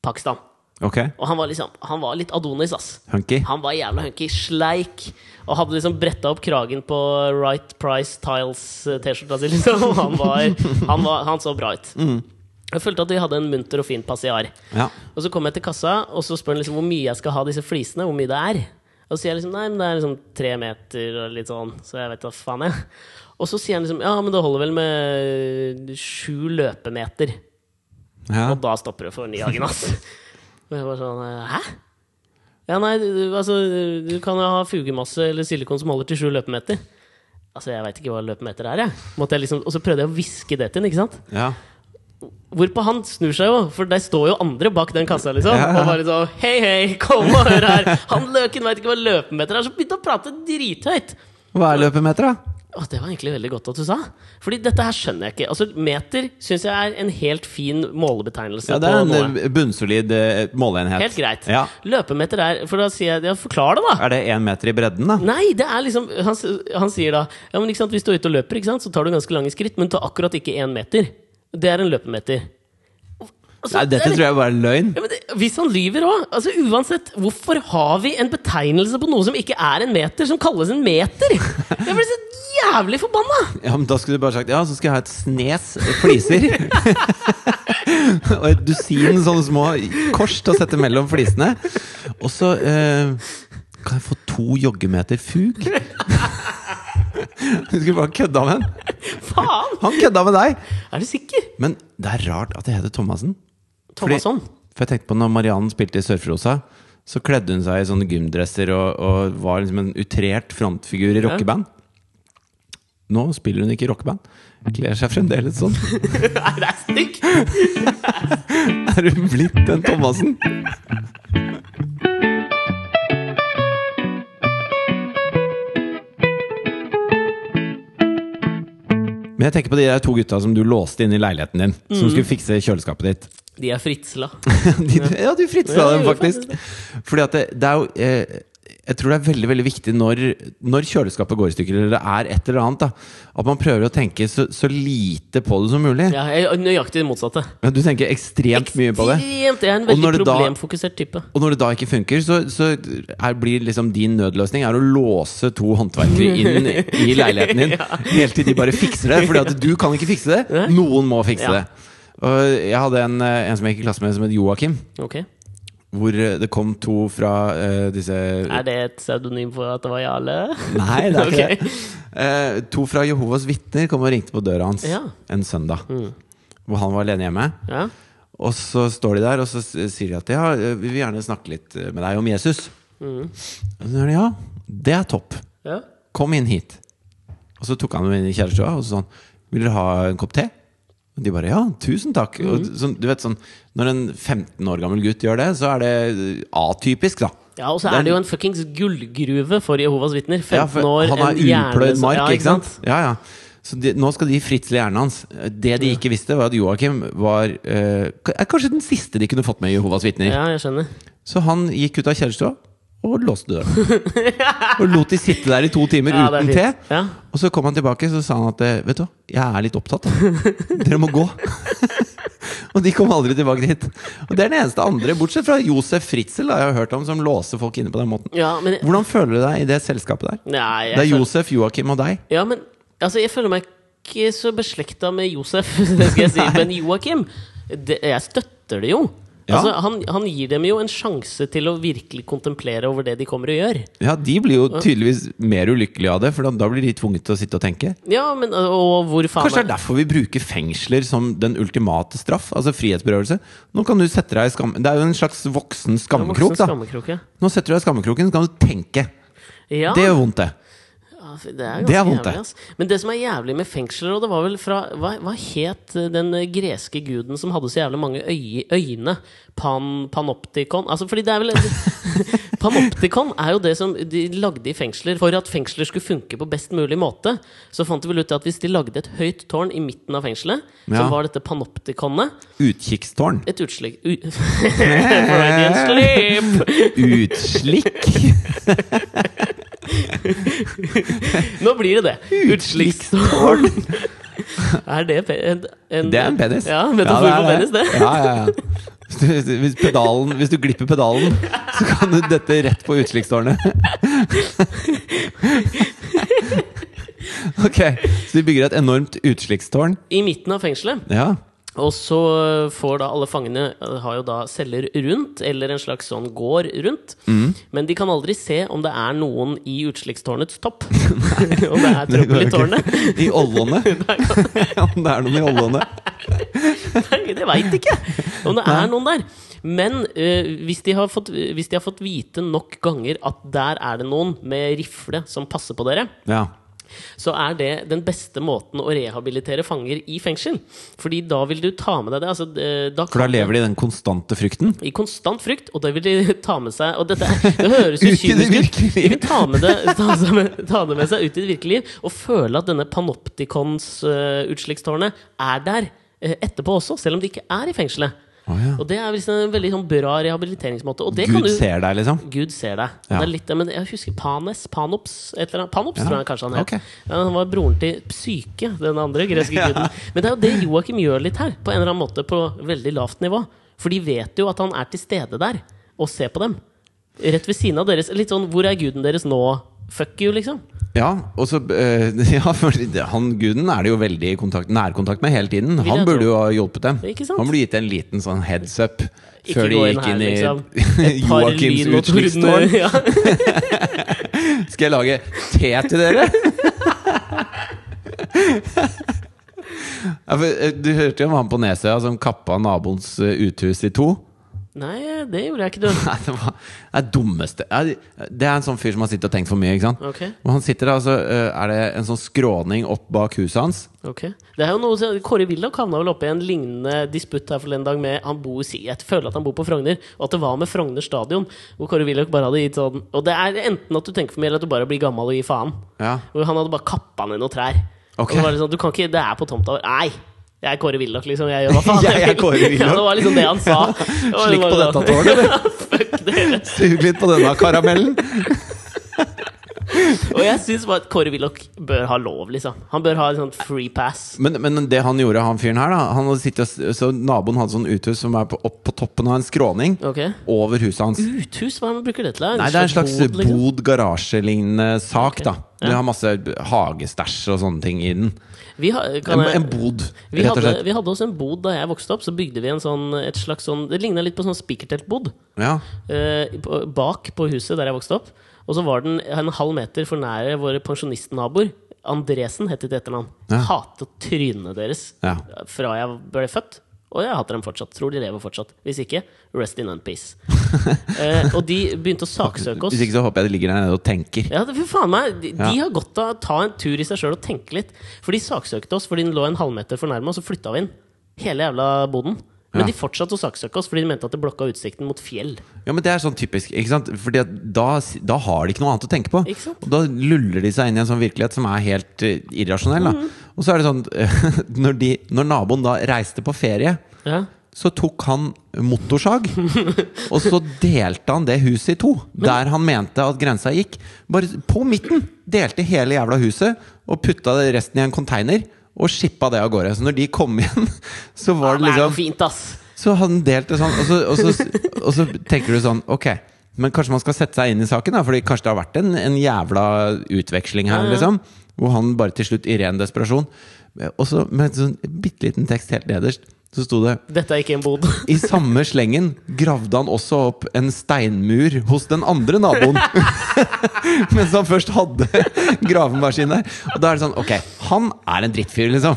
Speaker 2: Pakistan.
Speaker 1: Ok.
Speaker 2: Og han var, liksom, han var litt Adonis, ass.
Speaker 1: Hunky.
Speaker 2: Han var jævla hunky, sleik, og hadde liksom bretta opp kragen på Right Price Tiles-T-skjorta si, liksom. Og Han, var, han, var, han så bra ut. Jeg følte at vi hadde en munter og fin passiar.
Speaker 1: Ja.
Speaker 2: Og så kom jeg til kassa, og så spør han liksom hvor mye jeg skal ha disse flisene. Hvor mye det er. Og så sier jeg liksom nei, men det er liksom tre meter og litt sånn, så jeg vet da faen, jeg. Og så sier han liksom ja, men det holder vel med sju løpemeter.
Speaker 1: ja.
Speaker 2: Og da stopper det for Nyhagen, ass. Og jeg var sånn hæ? Ja, nei, du, du- altså Du kan jo ha fugemasse eller silikon som holder til sju løpemeter. Altså, jeg veit ikke hva løpemeter er, jeg. Måtte jeg liksom, og så prøvde jeg å hviske det til ham, ikke sant?
Speaker 1: ja.
Speaker 2: Hvorpå han snur seg jo, for der står jo andre bak den kassa, liksom.
Speaker 1: Ja.
Speaker 2: Og bare sånn Hei, hei, kom og hør her! Han løken veit ikke hva løpemeter er, så begynte han å prate drithøyt.
Speaker 1: Hva er løpemeter, da?
Speaker 2: Å, det var egentlig veldig godt at du sa. Fordi dette her skjønner jeg ikke. Altså, meter syns jeg er en helt fin målebetegnelse
Speaker 1: Ja, det
Speaker 2: på
Speaker 1: er
Speaker 2: noe.
Speaker 1: en eh, bunnsolid eh, måleenhet.
Speaker 2: Helt greit.
Speaker 1: Ja.
Speaker 2: Løpemeter er For da sier jeg Ja, forklar det, da!
Speaker 1: Er det én meter i bredden, da?
Speaker 2: Nei, det er liksom Han, s- han sier da ja, men ikke sant, Hvis du er ute og løper, ikke sant, så tar du ganske lange skritt, men ta akkurat ikke én meter. Det er en løpemeter. Altså,
Speaker 1: Nei,
Speaker 2: det er-
Speaker 1: dette tror jeg bare er løgn.
Speaker 2: ja, men det, hvis han lyver òg altså, Uansett, hvorfor har vi en betegnelse på noe som ikke er en meter, som kalles en meter? Jeg blir så jævlig forbanna!
Speaker 1: Ja, men Da skulle du bare sagt ja, så skal jeg ha et snes fliser. og et dusin sånne små kors til å sette mellom flisene. Og så eh, kan jeg få to joggemeter fug? Du skulle bare kødda med han.
Speaker 2: Faen!
Speaker 1: Han kødda med deg!
Speaker 2: Er du sikker?
Speaker 1: Men det er rart at det heter Thomassen.
Speaker 2: Thomasson.
Speaker 1: For jeg tenkte på når Mariann spilte i Surferosa, så kledde hun seg i sånne gymdresser og, og var liksom en utrert frontfigur i rockeband. Nå spiller hun ikke i rockeband. Kler seg fremdeles sånn.
Speaker 2: Nei, det er stygt!
Speaker 1: Er hun blitt den Thomassen? Men jeg tenker på de der to gutta som du låste inn i leiligheten din. Som skulle fikse kjøleskapet ditt.
Speaker 2: De er fritsla.
Speaker 1: De, ja, du
Speaker 2: Ja,
Speaker 1: fritsla
Speaker 2: jeg
Speaker 1: dem
Speaker 2: gjorde
Speaker 1: faktisk. Fordi at det, det er jo eh, jeg tror det er veldig veldig viktig når, når kjøleskapet går i stykker, eller det er et eller annet, da, at man prøver å tenke så, så lite på det som mulig.
Speaker 2: Ja, jeg er nøyaktig det motsatte.
Speaker 1: Men du tenker ekstremt mye på det.
Speaker 2: Ekstremt. Jeg er en
Speaker 1: Og når
Speaker 2: veldig
Speaker 1: det da-
Speaker 2: problemfokusert type.
Speaker 1: Og når det da ikke funker, så, så er, blir liksom din nødløsning er å låse to håndverkere
Speaker 2: Mm.
Speaker 1: inn i leiligheten din helt til de bare fikser det. Fordi at du kan ikke fikse det. Noen må fikse
Speaker 2: Ja.
Speaker 1: det. Og jeg hadde en, eh, en som jeg gikk i klasse med, som het Joakim.
Speaker 2: Ok.
Speaker 1: Hvor eh, det kom to fra eh, disse
Speaker 2: Er det et pseudonym for at det var Jarle?
Speaker 1: Nei, det er ikke
Speaker 2: Ok.
Speaker 1: det. Eh, to fra Jehovas vitner kom og ringte på døra hans
Speaker 2: Ja. Mm.
Speaker 1: en søndag. Hvor han var alene hjemme.
Speaker 2: Ja.
Speaker 1: Og så står de der, og så s- sier de at ja, eh, vi vil gjerne snakke litt med deg om Jesus.
Speaker 2: Mm.
Speaker 1: Og så sier de ja, det er topp.
Speaker 2: ja.
Speaker 1: Kom inn hit. Og så tok han dem inn i kjærestua og så sa han, vil dere ha en kopp te? Og de bare ja, tusen takk.
Speaker 2: Mm.
Speaker 1: Og sånn, du vet sånn, Når en 15 år gammel gutt gjør det, så er det atypisk, da.
Speaker 2: Ja, Og så er det jo en fuckings gullgruve for Jehovas vitner. 15
Speaker 1: Ja, for
Speaker 2: år,
Speaker 1: han har
Speaker 2: en hjerne
Speaker 1: upløyd
Speaker 2: som-
Speaker 1: mark,
Speaker 2: Ja,
Speaker 1: ikke sant? Ja, ja. Så de, nå skal de fritsle hjernen hans. Det de ikke visste, var at Joakim var eh, k- er kanskje den siste de kunne fått med i Jehovas vitner.
Speaker 2: Ja, jeg skjønner.
Speaker 1: Så han gikk ut av kjærestua og låste døra. og lot de sitte der i to timer
Speaker 2: Ja, det
Speaker 1: uten
Speaker 2: er
Speaker 1: te.
Speaker 2: fint. Ja.
Speaker 1: Og så kom han tilbake så sa han at eh, Vet du, hva, jeg er litt opptatt. Dere må gå. og de kom aldri tilbake dit. Og det er den eneste andre, bortsett fra Josef Fritzel, da, jeg har hørt om, som låser folk inne på den måten.
Speaker 2: Ja, men
Speaker 1: Hvordan føler du deg i det selskapet der?
Speaker 2: Nei, jeg
Speaker 1: Det er
Speaker 2: føler-
Speaker 1: Josef, Joakim og deg.
Speaker 2: Ja, men altså, jeg føler meg ikke så beslekta med Josef, det skal jeg si. Men Joakim, det, jeg støtter det jo.
Speaker 1: Ja.
Speaker 2: Altså, han, han gir dem jo en sjanse til å virkelig kontemplere over det de kommer og gjør.
Speaker 1: Ja, De blir jo tydeligvis mer ulykkelige av det, for da- da blir de tvunget til å sitte og tenke.
Speaker 2: Ja, men og hvor faen
Speaker 1: Kanskje det er derfor vi bruker fengsler som den ultimate straff? Altså frihetsberøvelse. Nå kan du sette deg i skam... Det er jo en slags voksen skammekrok, da.
Speaker 2: Skammekrok, ja.
Speaker 1: Nå setter du deg i skammekroken, så kan du tenke.
Speaker 2: Ja,
Speaker 1: Det gjør vondt, det.
Speaker 2: ja, fy, det er
Speaker 1: Det er
Speaker 2: ganske
Speaker 1: vondt, det.
Speaker 2: jævlig, ass. Men det som er jævlig med fengsler, og det var vel fra Hva, hva het eh, den eh, greske guden som hadde så jævlig mange øy, øyne? Pan, panoptikon? Altså, fordi det er vel Panoptikon er jo det som de lagde i fengsler for at fengsler skulle funke på best mulig måte. Så fant de vel ut at hvis de lagde et høyt tårn i midten av fengselet, så
Speaker 1: Ja.
Speaker 2: var dette panoptikonet
Speaker 1: Utkikkstårn.
Speaker 2: et utslik... U Freudian sleep!
Speaker 1: Utslikk.
Speaker 2: Nå blir det det. Utslikkstårn. Er det pe- en, en
Speaker 1: Det er en penis.
Speaker 2: Ja, metafor
Speaker 1: Ja,
Speaker 2: på
Speaker 1: det er
Speaker 2: penis, det.
Speaker 1: Ja, ja, ja. Hvis du, hvis, pedalen, hvis du glipper pedalen, så kan du dette rett på utslikkstårnet. Ok, så de bygger et enormt utslikkstårn.
Speaker 2: I midten av fengselet.
Speaker 1: Ja.
Speaker 2: Og så får da alle fangene eh, Har jo da celler rundt, eller en slags sånn gård rundt.
Speaker 1: Mm.
Speaker 2: Men de kan aldri se om det er noen i utslikkstårnets topp. om det er
Speaker 1: Det går
Speaker 2: trøbbel i
Speaker 1: jo
Speaker 2: tårnet.
Speaker 1: ikke. I ollåne. Om det er noen i ollåne.
Speaker 2: Det veit ikke om det er noen der. Men eh, hvis, de har fått, hvis de har fått vite nok ganger at der er det noen med rifle som passer på dere,
Speaker 1: Ja.
Speaker 2: så er det den beste måten å rehabilitere fanger i fengsel. Fordi da vil du ta med deg det. Altså, eh, da
Speaker 1: For da lever de i den konstante frykten.
Speaker 2: i konstant frykt, og det vil de ta med seg Og dette, det høres jo
Speaker 1: Ut i det
Speaker 2: kynisk ut.
Speaker 1: virkelige
Speaker 2: De vil ta, med det, ta, seg med, ta det med seg ut i det virkelige liv og føle at denne panoptikons-utslikkstårnet er der eh, etterpå også, selv om de ikke er i fengselet.
Speaker 1: Å, ja.
Speaker 2: Og det er liksom en veldig sånn bra rehabiliteringsmåte. Og det kan
Speaker 1: Gud
Speaker 2: du
Speaker 1: ser deg, liksom.
Speaker 2: Gud ser deg. Og
Speaker 1: Ja.
Speaker 2: Det er litt, det, men jeg husker Panes, Panops, et eller annet. Panops
Speaker 1: Ja,
Speaker 2: tror jeg kanskje han het.
Speaker 1: ok.
Speaker 2: Ja, han var broren til Psyke, den andre greske guden. Men det er jo det Joakim gjør litt her, på en eller annen måte på veldig lavt nivå. For de vet jo at han er til stede der, og ser på dem. Rett ved siden av deres. Litt sånn 'Hvor er guden deres nå?' Fuck you, liksom.
Speaker 1: Ja, og så eh, ja, for Han guden er det jo veldig i kontakt, nærkontakt med hele tiden. Han
Speaker 2: jeg
Speaker 1: burde
Speaker 2: tro.
Speaker 1: jo ha hjulpet dem.
Speaker 2: Ikke sant?
Speaker 1: Han burde gitt en liten sånn heads up
Speaker 2: Ikke
Speaker 1: før de
Speaker 2: gå inn
Speaker 1: gikk
Speaker 2: her,
Speaker 1: inn i
Speaker 2: liksom. Par
Speaker 1: Joakims
Speaker 2: lyn og torden.
Speaker 1: utslikkstårn.
Speaker 2: Ja.
Speaker 1: Skal jeg lage te til dere? Ja, for, eh, du hørte jo om han på Nesøya som kappa naboens eh, uthus i to.
Speaker 2: Nei, det gjorde jeg ikke, du.
Speaker 1: Nei, det var det er dummeste Ja, Det er en sånn fyr som har sittet og tenkt for mye, ikke sant?
Speaker 2: Ok,
Speaker 1: Og han sitter da, så eh, er det en sånn skråning opp bak huset hans.
Speaker 2: ok Det er jo noe som- Kåre Willoch havna vel oppe i en lignende disputt her forleden dag med Han bor, si- jeg føler at han bor på Frogner, og at det var med Frogner stadion. Hvor Kåre Willoch bare hadde gitt sånn Og det er enten at du tenker for mye, eller at du bare blir gammel og gir faen.
Speaker 1: Ja.
Speaker 2: Hvor han hadde bare kappa ned noen trær.
Speaker 1: Ok.
Speaker 2: Og det var liksom, du kan ikke, det er på tomta vår. Nei! Jeg er Kåre Willoch, liksom. Jeg gjør hva faen
Speaker 1: Jeg er
Speaker 2: vil.
Speaker 1: Kåre Willoch.
Speaker 2: Ja, det var liksom det han sa. Og det
Speaker 1: Slikk på
Speaker 2: var sånn-
Speaker 1: dette tårnet, du.
Speaker 2: Fuck dere.
Speaker 1: Sug litt på denne karamellen.
Speaker 2: Og jeg syns bare at Kåre Willoch bør ha lov, liksom. Han bør ha en sånn free pass.
Speaker 1: Men, men det han gjorde, han fyren her, da Han hadde sittet og s- Så naboen hadde sånn uthus som er på, opp på toppen av en skråning
Speaker 2: Ok
Speaker 1: over huset hans.
Speaker 2: Uthus, hva er det man bruker det til? da?
Speaker 1: Nei, det er en slags
Speaker 2: bod, liksom?
Speaker 1: bod-garasje-lignende sak,
Speaker 2: Ok.
Speaker 1: da. Det
Speaker 2: Ja.
Speaker 1: har masse hagestæsj og sånne ting i den.
Speaker 2: Vi, har, kan
Speaker 1: En,
Speaker 2: jeg,
Speaker 1: en bod,
Speaker 2: vi,
Speaker 1: rett og
Speaker 2: hadde,
Speaker 1: slett.
Speaker 2: vi hadde også en bod da jeg vokste opp. Så bygde vi en sånn, et slags sånn Det ligna litt på sånn spikerteltbod
Speaker 1: Ja.
Speaker 2: eh, på- bak på huset der jeg vokste opp. Og så var den en halv meter for nære våre pensjonistnaboer. Andresen het de til etternavn.
Speaker 1: Ja.
Speaker 2: Hatet trynene deres
Speaker 1: Ja.
Speaker 2: fra jeg ble født. Og jeg hater dem fortsatt. Tror de lever fortsatt. Hvis ikke, rest in one piece. eh, og de begynte å saksøke oss.
Speaker 1: Hvis ikke så håper jeg de ligger der nede og tenker.
Speaker 2: Ja, det, for faen meg, de, de
Speaker 1: Ja.
Speaker 2: har godt av å ta en tur i seg sjøl og tenke litt. For de saksøkte oss fordi den lå en halvmeter for nærme, og så flytta vi inn. Hele jævla boden. Men
Speaker 1: Ja.
Speaker 2: de fortsatte å saksøke oss fordi de mente at det blokka utsikten mot fjell.
Speaker 1: Ja, men Det er sånn typisk. ikke sant? Fordi at da, s- da har de ikke noe annet å tenke på.
Speaker 2: Ikke sant?
Speaker 1: Og Da luller de seg inn i en sånn virkelighet som er helt eh, irrasjonell.
Speaker 2: Mhm.
Speaker 1: da Og så er det sånn når, de, når naboen da reiste på ferie,
Speaker 2: Ja.
Speaker 1: så tok han motorsag. og så delte han det huset i to, der han mente at grensa gikk. Bare på midten! Delte hele jævla huset og putta det resten i en container. Og shippa det av gårde. Så når de kom igjen, så var det
Speaker 2: det er jo
Speaker 1: liksom
Speaker 2: fint, ass!
Speaker 1: så hadde han delt det sånn, og så, og, så, og så tenker du sånn Ok, men kanskje man skal sette seg inn i saken, da, fordi kanskje det har vært en, en jævla utveksling her,
Speaker 2: Ja, ja.
Speaker 1: liksom. Hvor han bare til slutt, i ren desperasjon Og så med en sånn bitte liten tekst helt nederst, så sto det
Speaker 2: Dette er ikke en bod.
Speaker 1: i samme slengen gravde han også opp en steinmur hos den andre naboen. Mens han først hadde gravemaskin der. Og da er det sånn Ok, han er en drittfyr, liksom.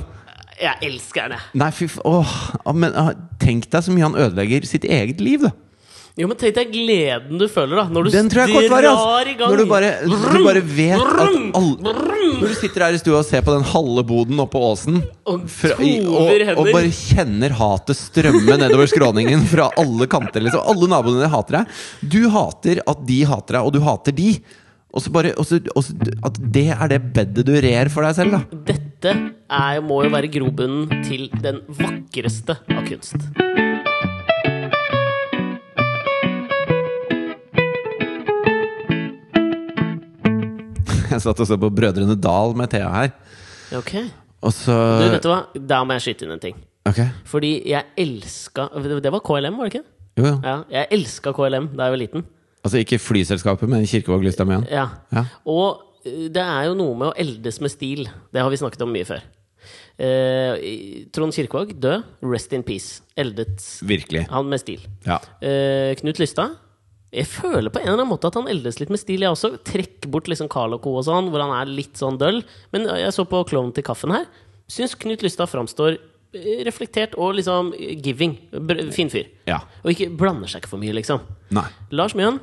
Speaker 2: Jeg elsker det!
Speaker 1: Nei, fy f... Åh, ah, men ah, tenk deg så mye han ødelegger sitt eget liv, da.
Speaker 2: Jo, men tenk deg gleden du føler, da. Når du
Speaker 1: Den tror jeg er kortvarig.
Speaker 2: drar i
Speaker 1: Altså.
Speaker 2: gang.
Speaker 1: Når du bare, du bare vet at
Speaker 2: Vrum,
Speaker 1: alle Når du sitter her i stua og ser på den halve boden oppe på åsen,
Speaker 2: Og
Speaker 1: fra, i, og,
Speaker 2: tover hender.
Speaker 1: og bare kjenner hatet strømme nedover skråningen fra alle kanter. Liksom. Alle naboene dine hater deg. Du hater at de hater deg, og du hater de. Og så bare og så, og så, At det er det bedet du rer for deg selv, da.
Speaker 2: Dette er, må jo være grobunnen til den vakreste av kunst.
Speaker 1: Jeg satt og så på Brødrene Dal med Thea her,
Speaker 2: Ok. Du,
Speaker 1: og så
Speaker 2: vet du hva? Der må jeg skyte inn en ting.
Speaker 1: Ok.
Speaker 2: Fordi jeg elska Det var KLM, var det ikke?
Speaker 1: Jo, jo.
Speaker 2: Ja, jeg elska KLM da jeg var liten.
Speaker 1: Altså ikke flyselskapet, men Kirkevåg Lystad Mjøen.
Speaker 2: Ja.
Speaker 1: Ja.
Speaker 2: Og eh, det er jo noe med å eldes med stil. Det har vi snakket om mye før. Eh, i- Trond Kirkevåg, død. Rest in peace. Eldet
Speaker 1: Virkelig.
Speaker 2: han med stil.
Speaker 1: Ja.
Speaker 2: Eh, Knut Lystad. Jeg føler på en eller annen måte at han eldes litt med stil. Jeg også Trekk bort liksom Carl og Co. og sånn, hvor han er litt sånn døll. Men jeg så på Klovn til kaffen her. Syns Knut Lystad framstår eh, reflektert og liksom giving. Br- Fin fyr.
Speaker 1: Ja.
Speaker 2: Og ikke blander seg ikke for mye, liksom.
Speaker 1: Nei.
Speaker 2: Lars Mjøen,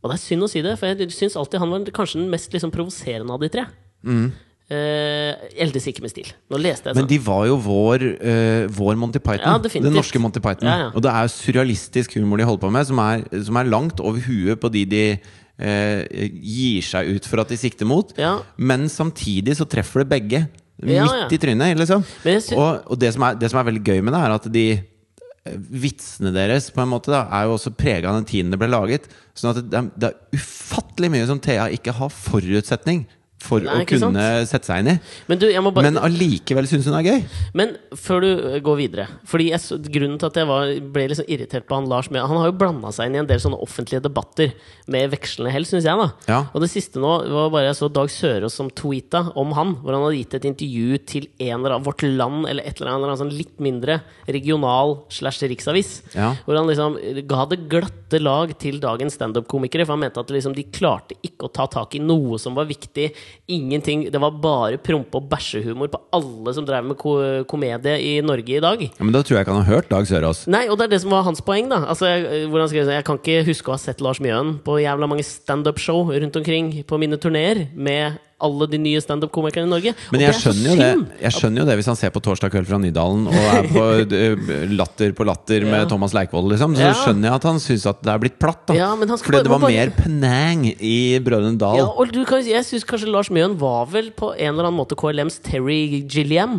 Speaker 2: og det er synd å si det, for jeg syns alltid han var kanskje den mest liksom, provoserende av de tre. Eh, eldes ikke med stil. Nå leste jeg
Speaker 1: Men
Speaker 2: sånn.
Speaker 1: de var jo vår, eh, vår Monty Python.
Speaker 2: Ja, definitivt.
Speaker 1: den norske Monty Python.
Speaker 2: Ja, ja.
Speaker 1: Og det er jo surrealistisk humor de holder på med, som er, som er langt over huet på de de eh, gir seg ut for at de sikter mot.
Speaker 2: Ja.
Speaker 1: Men samtidig så treffer det begge.
Speaker 2: Ja, ja.
Speaker 1: Midt i trynet, liksom.
Speaker 2: Men jeg sy-
Speaker 1: Og, og det, som er, det som er veldig gøy med det, er at de eh, Vitsene deres på en måte da, er jo også prega av den tiden det ble laget. Sånn at det er, det er ufattelig mye som Thea ikke har forutsetning for
Speaker 2: Nei,
Speaker 1: å
Speaker 2: ikke sant?
Speaker 1: kunne sette seg inn i.
Speaker 2: Men du, jeg må bare
Speaker 1: Men allikevel syns hun er gøy.
Speaker 2: Men før du eh, går videre Fordi jeg, så- Grunnen til at jeg var, ble liksom irritert på han Lars med, Han har jo blanda seg inn i en del sånne offentlige debatter med vekslende hell, syns jeg. da
Speaker 1: Ja.
Speaker 2: Og det siste nå var bare jeg så Dag Sørås som tweeta om han, hvor han hadde gitt et intervju til en eller annen Vårt Land eller et eller annet, en sånn litt mindre regional slash riksavis.
Speaker 1: Ja.
Speaker 2: Hvor han liksom ga det glatte lag til dagens standup-komikere. For han mente at liksom de klarte ikke å ta tak i noe som var viktig. Ingenting. Det var bare prompe- og bæsjehumor på alle som drev med ko komedie i Norge i dag.
Speaker 1: Ja, men Da tror jeg ikke han har hørt Dag Sørås.
Speaker 2: Nei, og det er det som var hans poeng, da. Altså, jeg, hvordan skal jeg, si, jeg kan ikke huske å ha sett Lars Mjøen på jævla mange standup-show rundt omkring på mine turneer med alle de nye standup-komikerne i Norge. Og
Speaker 1: Men
Speaker 2: det
Speaker 1: jeg
Speaker 2: er så
Speaker 1: skjønner, jo
Speaker 2: synd.
Speaker 1: det, jeg skjønner jo det hvis han ser på Torsdag kveld fra Nydalen og er på eh, Latter på latter med
Speaker 2: Ja.
Speaker 1: Thomas Leikvoll, liksom. Så
Speaker 2: Ja.
Speaker 1: skjønner jeg at han syns at det er blitt platt. da
Speaker 2: Ja, men han skal
Speaker 1: Fordi
Speaker 2: bare-
Speaker 1: det var
Speaker 2: bare-
Speaker 1: mer penang i Brødrene Dal.
Speaker 2: Ja, og du kan, jeg syns kanskje Lars Mjøen var vel på en eller annen måte KLMs Terry Gilliam,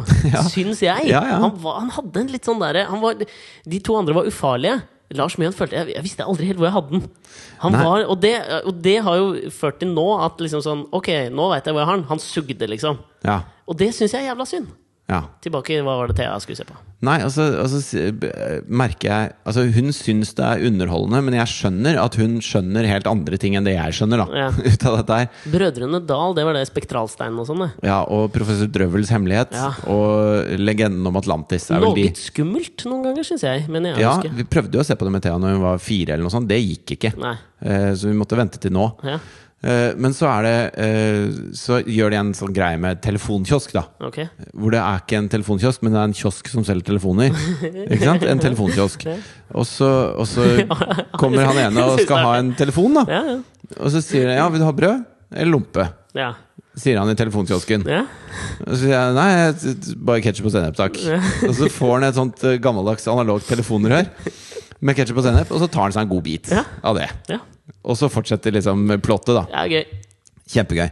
Speaker 2: syns jeg.
Speaker 1: Ja, ja.
Speaker 2: Han, var, han hadde en litt sånn derre han var- De to andre var ufarlige. Lars Mjøen følte jeg, jeg visste aldri helt hvor jeg hadde den. Han
Speaker 1: Nei.
Speaker 2: var, og, det, og det har jo ført til nå at liksom sånn Ok, nå veit jeg hvor jeg har den. Han sugde, liksom.
Speaker 1: Ja.
Speaker 2: Og det syns jeg er jævla synd.
Speaker 1: ja.
Speaker 2: Tilbake, hva var det Thea skulle se på?
Speaker 1: Nei, altså, altså s- b- merker jeg Altså, hun syns det er underholdende, men jeg skjønner at hun skjønner helt andre ting enn det jeg skjønner, da.
Speaker 2: Ja.
Speaker 1: Ut av dette her.
Speaker 2: Brødrene Dal, det var det Spektralsteinen og sånn, det.
Speaker 1: Ja, og professor Drøvels hemmelighet.
Speaker 2: Ja.
Speaker 1: Og legenden om Atlantis er vel
Speaker 2: Noe
Speaker 1: de.
Speaker 2: skummelt noen ganger, syns jeg. Men jeg
Speaker 1: Ja,
Speaker 2: husker.
Speaker 1: vi prøvde jo å se på det med Thea når hun var fire, eller noe sånt. Det gikk ikke.
Speaker 2: Nei.
Speaker 1: Eh, Så vi måtte vente til nå.
Speaker 2: Ja,
Speaker 1: Eh, Men så er det eh, Så gjør de en sånn greie med telefonkiosk, da.
Speaker 2: ok.
Speaker 1: Hvor det er ikke en telefonkiosk, men det er en kiosk som selger telefoner. Ikke sant? En telefonkiosk. Og så, og så kommer han ene og skal ha en telefon, da.
Speaker 2: Ja, ja.
Speaker 1: Og så sier han ja, vil du ha brød eller lompe?
Speaker 2: ja.
Speaker 1: Sier han i telefonkiosken.
Speaker 2: ja.
Speaker 1: Og så sier jeg nei, jeg t- bare ketsjup og sennep, takk. Og så får han et sånt eh, gammeldags analogt telefonrør med ketsjup og sennep, og så tar han seg en god bit
Speaker 2: Ja.
Speaker 1: av det.
Speaker 2: ja.
Speaker 1: Og så fortsetter liksom plottet, da.
Speaker 2: Det er gøy.
Speaker 1: Kjempegøy.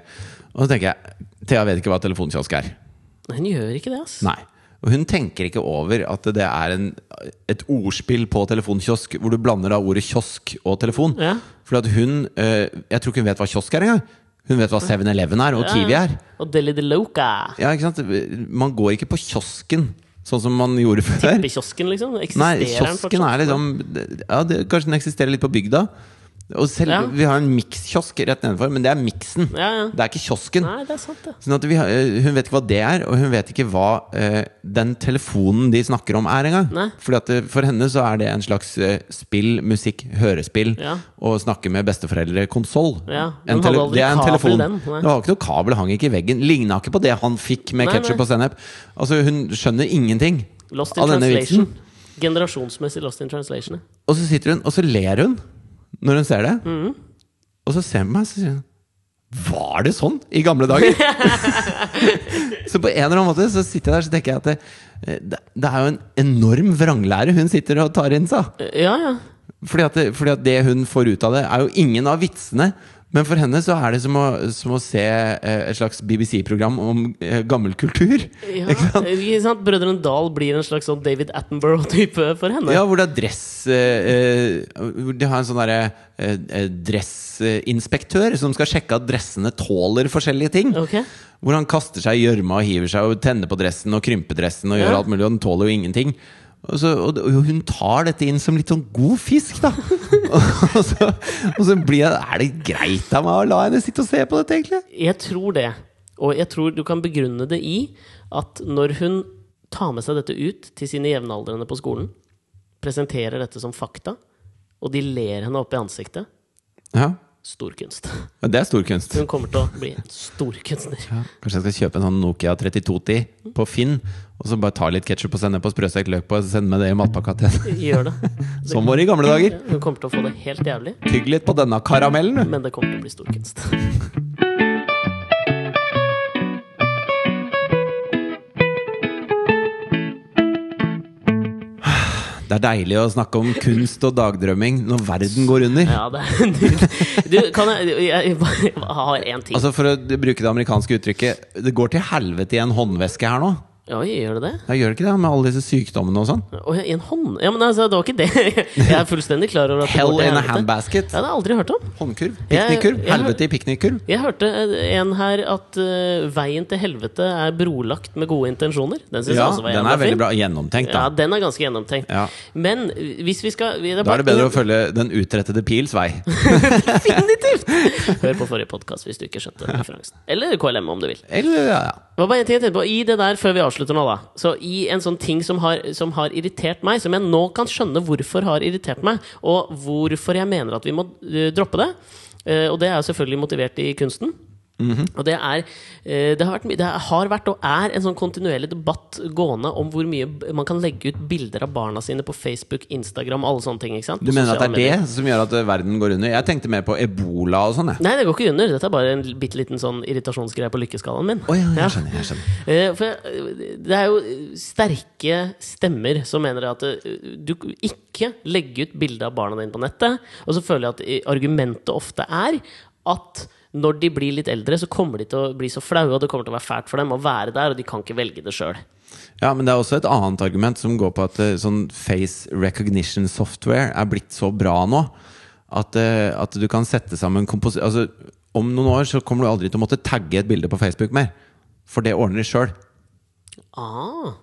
Speaker 1: Og så tenker jeg Thea vet ikke hva telefonkiosk er.
Speaker 2: Hun gjør ikke det, ass.
Speaker 1: Nei. Og hun tenker ikke over at det er en, et ordspill på telefonkiosk hvor du blander da ordet kiosk og telefon.
Speaker 2: Ja.
Speaker 1: Fordi at hun eh, Jeg tror ikke hun vet hva kiosk er engang. Hun vet hva 7-Eleven er, og
Speaker 2: Ja,
Speaker 1: Kiwi
Speaker 2: ja.
Speaker 1: er.
Speaker 2: Og Deli de Loca.
Speaker 1: Ja, ikke sant? Man går ikke på kiosken sånn som man gjorde før.
Speaker 2: Tippekiosken, liksom. Eksisterer
Speaker 1: Nei,
Speaker 2: den
Speaker 1: kiosken
Speaker 2: fortsatt?
Speaker 1: er liksom ja, det, Kanskje den eksisterer litt på bygda. Og selv,
Speaker 2: Ja.
Speaker 1: Vi har en mikskiosk rett nedenfor, men det er miksen.
Speaker 2: Ja, ja.
Speaker 1: Det er ikke kiosken.
Speaker 2: Nei, det er sant, det.
Speaker 1: Sånn at vi, har- eh, hun vet ikke hva det er, og hun vet ikke hva eh, den telefonen de snakker om, er engang.
Speaker 2: Nei.
Speaker 1: Fordi at eh, For henne så er det en slags eh, spill, musikk, hørespill
Speaker 2: Ja.
Speaker 1: og snakke med besteforeldre, konsoll.
Speaker 2: Ja,
Speaker 1: En
Speaker 2: hun hadde
Speaker 1: tele-
Speaker 2: aldri
Speaker 1: det er en
Speaker 2: kabel,
Speaker 1: telefon.
Speaker 2: den. Nei.
Speaker 1: Det var ikke noe kabel, hang ikke i veggen. Ligna ikke på det han fikk med
Speaker 2: Nei,
Speaker 1: ketsjup
Speaker 2: nei.
Speaker 1: og sennep. Altså, hun skjønner ingenting
Speaker 2: Lost in
Speaker 1: av denne
Speaker 2: translation.
Speaker 1: vitsen.
Speaker 2: Generasjonsmessig Lost in translation. ja.
Speaker 1: Og så sitter hun, og så ler hun når hun ser det. Og så ser hun på meg, så sier hun Var det sånn i gamle dager? så på en eller annen måte så sitter jeg der så tenker jeg at det, det, det er jo en enorm vranglære hun sitter og tar inn seg.
Speaker 2: Eh, Ja, ja.
Speaker 1: Fordi at, det, fordi at det hun får ut av det, er jo ingen av vitsene. Men for henne så er det som å, som å se eh, et slags BBC-program om eh, gammel kultur.
Speaker 2: ja. Eh, Ikke sant? Brødrene Dal blir en slags sånn David Attenborough-type for henne.
Speaker 1: Ja, hvor det er dress eh, eh, hvor De har en sånn derre eh, eh, dressinspektør som skal sjekke at dressene tåler forskjellige ting.
Speaker 2: Ok.
Speaker 1: Hvor han kaster seg i gjørma og hiver seg og tenner på dressen og krymper dressen og gjør
Speaker 2: Ja.
Speaker 1: alt mulig, og den tåler jo ingenting. Og, så, og, og hun tar dette inn som litt sånn god fisk, da. og, så, og så blir jeg Er det greit av meg å la henne sitte og se på dette, egentlig?
Speaker 2: Jeg tror det. Og jeg tror du kan begrunne det i at når hun tar med seg dette ut til sine jevnaldrende på skolen, presenterer dette som fakta, og de ler henne opp i ansiktet
Speaker 1: Ja.
Speaker 2: Storkunst.
Speaker 1: Ja, Det er stor kunst.
Speaker 2: Hun kommer til å bli en storkunstner.
Speaker 1: Ja, kanskje jeg skal kjøpe en sånn Nokia 3210 på Finn, og så bare ta litt ketsjup og sennep og sprøstekt løk på, og så sende med det i matpakka til henne.
Speaker 2: Gjør det.
Speaker 1: Som var det i gamle dager.
Speaker 2: Hun kommer til å få det helt jævlig,
Speaker 1: Tygg litt på denne karamellen, du.
Speaker 2: men det kommer til å bli storkunst.
Speaker 1: Det er deilig å snakke om kunst og dagdrømming når verden går under.
Speaker 2: Ja, det er nydelig. Du, kan jeg Jeg bare har én ting.
Speaker 1: Altså For å bruke det amerikanske uttrykket Det går til helvete i en håndveske her nå.
Speaker 2: Oi, gjør det det?
Speaker 1: Ja, gjør det ikke det med alle disse sykdommene og sånn?
Speaker 2: Å, i en hånd? Ja, men altså, det var ikke det. Jeg er fullstendig klar over at det går
Speaker 1: Hell in
Speaker 2: til
Speaker 1: a
Speaker 2: helvete.
Speaker 1: handbasket.
Speaker 2: Ja, det har jeg aldri hørt om.
Speaker 1: Håndkurv.
Speaker 2: Jeg-
Speaker 1: Piknikkurv.
Speaker 2: jeg-
Speaker 1: Helvete i piknikkurv.
Speaker 2: Jeg hørte eh, en her at eh, veien til helvete er brolagt med gode intensjoner. Den synes
Speaker 1: Ja,
Speaker 2: jeg også var
Speaker 1: den
Speaker 2: jævla
Speaker 1: er veldig
Speaker 2: fin.
Speaker 1: bra gjennomtenkt,
Speaker 2: Ja,
Speaker 1: da.
Speaker 2: den er ganske gjennomtenkt.
Speaker 1: Ja.
Speaker 2: Men eh, hvis vi skal
Speaker 1: Da
Speaker 2: vi-
Speaker 1: er det bedre å følge den utrettede pils vei.
Speaker 2: Definitivt! Hør på forrige podkast hvis du ikke skjønte referansen. Eller KLM, om du vil.
Speaker 1: Eller, ja, ja.
Speaker 2: Det var bare en ting jeg tenkte på I det der, før vi avslutter nå, da. Så i en sånn ting som har, som har irritert meg, som jeg nå kan skjønne hvorfor har irritert meg, og hvorfor jeg mener at vi må eh, droppe det, eh, og det er jo selvfølgelig motivert i kunsten.
Speaker 1: Mhm.
Speaker 2: Og det er eh, det har, vært, my- det har vært og er en sånn kontinuerlig debatt gående om hvor mye b- man kan legge ut bilder av barna sine på Facebook, Instagram, alle sånne ting. ikke sant?
Speaker 1: Du
Speaker 2: På
Speaker 1: mener at
Speaker 2: sosiale
Speaker 1: det
Speaker 2: medier.
Speaker 1: er det som gjør at eh, verden går under? Jeg tenkte mer på ebola og sånn, jeg.
Speaker 2: Nei, det går ikke under. Dette er bare en bitte liten sånn irritasjonsgreie på lykkeskalaen min.
Speaker 1: Å ja,
Speaker 2: Ja.
Speaker 1: jeg skjønner. jeg skjønner
Speaker 2: Eh, For jeg- det er jo sterke stemmer som mener at eh, du ikke legger ut bilde av barna dine på nettet. Og så føler jeg at eh, argumentet ofte er at når de blir litt eldre, så kommer de til å bli så flaue, og det kommer til å være fælt for dem å være der, og de kan ikke velge det sjøl.
Speaker 1: Ja, men det er også et annet argument som går på at eh, sånn face recognition software er blitt så bra nå at, eh, at du kan sette sammen kompos... Altså, om noen år så kommer du aldri til å måtte tagge et bilde på Facebook mer. For det ordner de sjøl.
Speaker 2: Ah,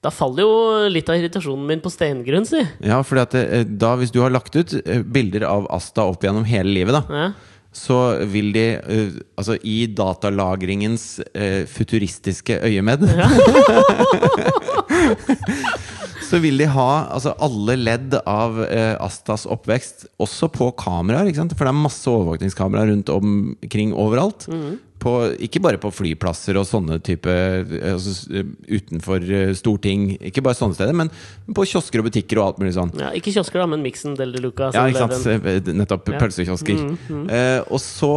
Speaker 2: da faller jo litt av irritasjonen min på stengrunn, si.
Speaker 1: Ja, fordi at eh, da, hvis du har lagt ut eh, bilder av Asta opp gjennom hele livet, da,
Speaker 2: Ja.
Speaker 1: så vil de eh, Altså, i datalagringens eh, futuristiske øyemed Så vil de ha altså, alle ledd av eh, Astas oppvekst, også på kameraer. Ikke sant? For det er masse overvåkningskameraer rundt omkring overalt. På, ikke bare på flyplasser og sånne type eh, altså, s- eh, Utenfor eh, storting. Ikke bare sånne steder, men på kiosker og butikker og alt mulig sånn.
Speaker 2: Ja, ikke kiosker, da, men Mixen Del de Luca.
Speaker 1: Ja,
Speaker 2: som
Speaker 1: ikke
Speaker 2: ble
Speaker 1: sant.
Speaker 2: den-
Speaker 1: Eh, Nettopp.
Speaker 2: Ja.
Speaker 1: Pølsekiosker. Eh, og, så,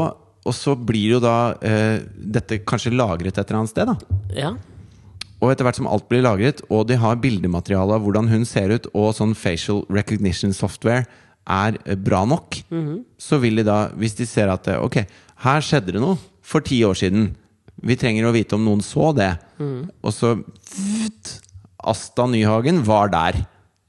Speaker 1: og så blir jo da eh, dette kanskje lagret et eller annet sted, da.
Speaker 2: Ja.
Speaker 1: Og etter hvert som alt blir lagret, og de har bildemateriale av hvordan hun ser ut, og sånn facial recognition software er eh, bra nok, så vil de da, hvis de ser at eh, ok, her skjedde det noe for ti år siden, vi trenger å vite om noen så det, og så vvt, Asta Nyhagen var der.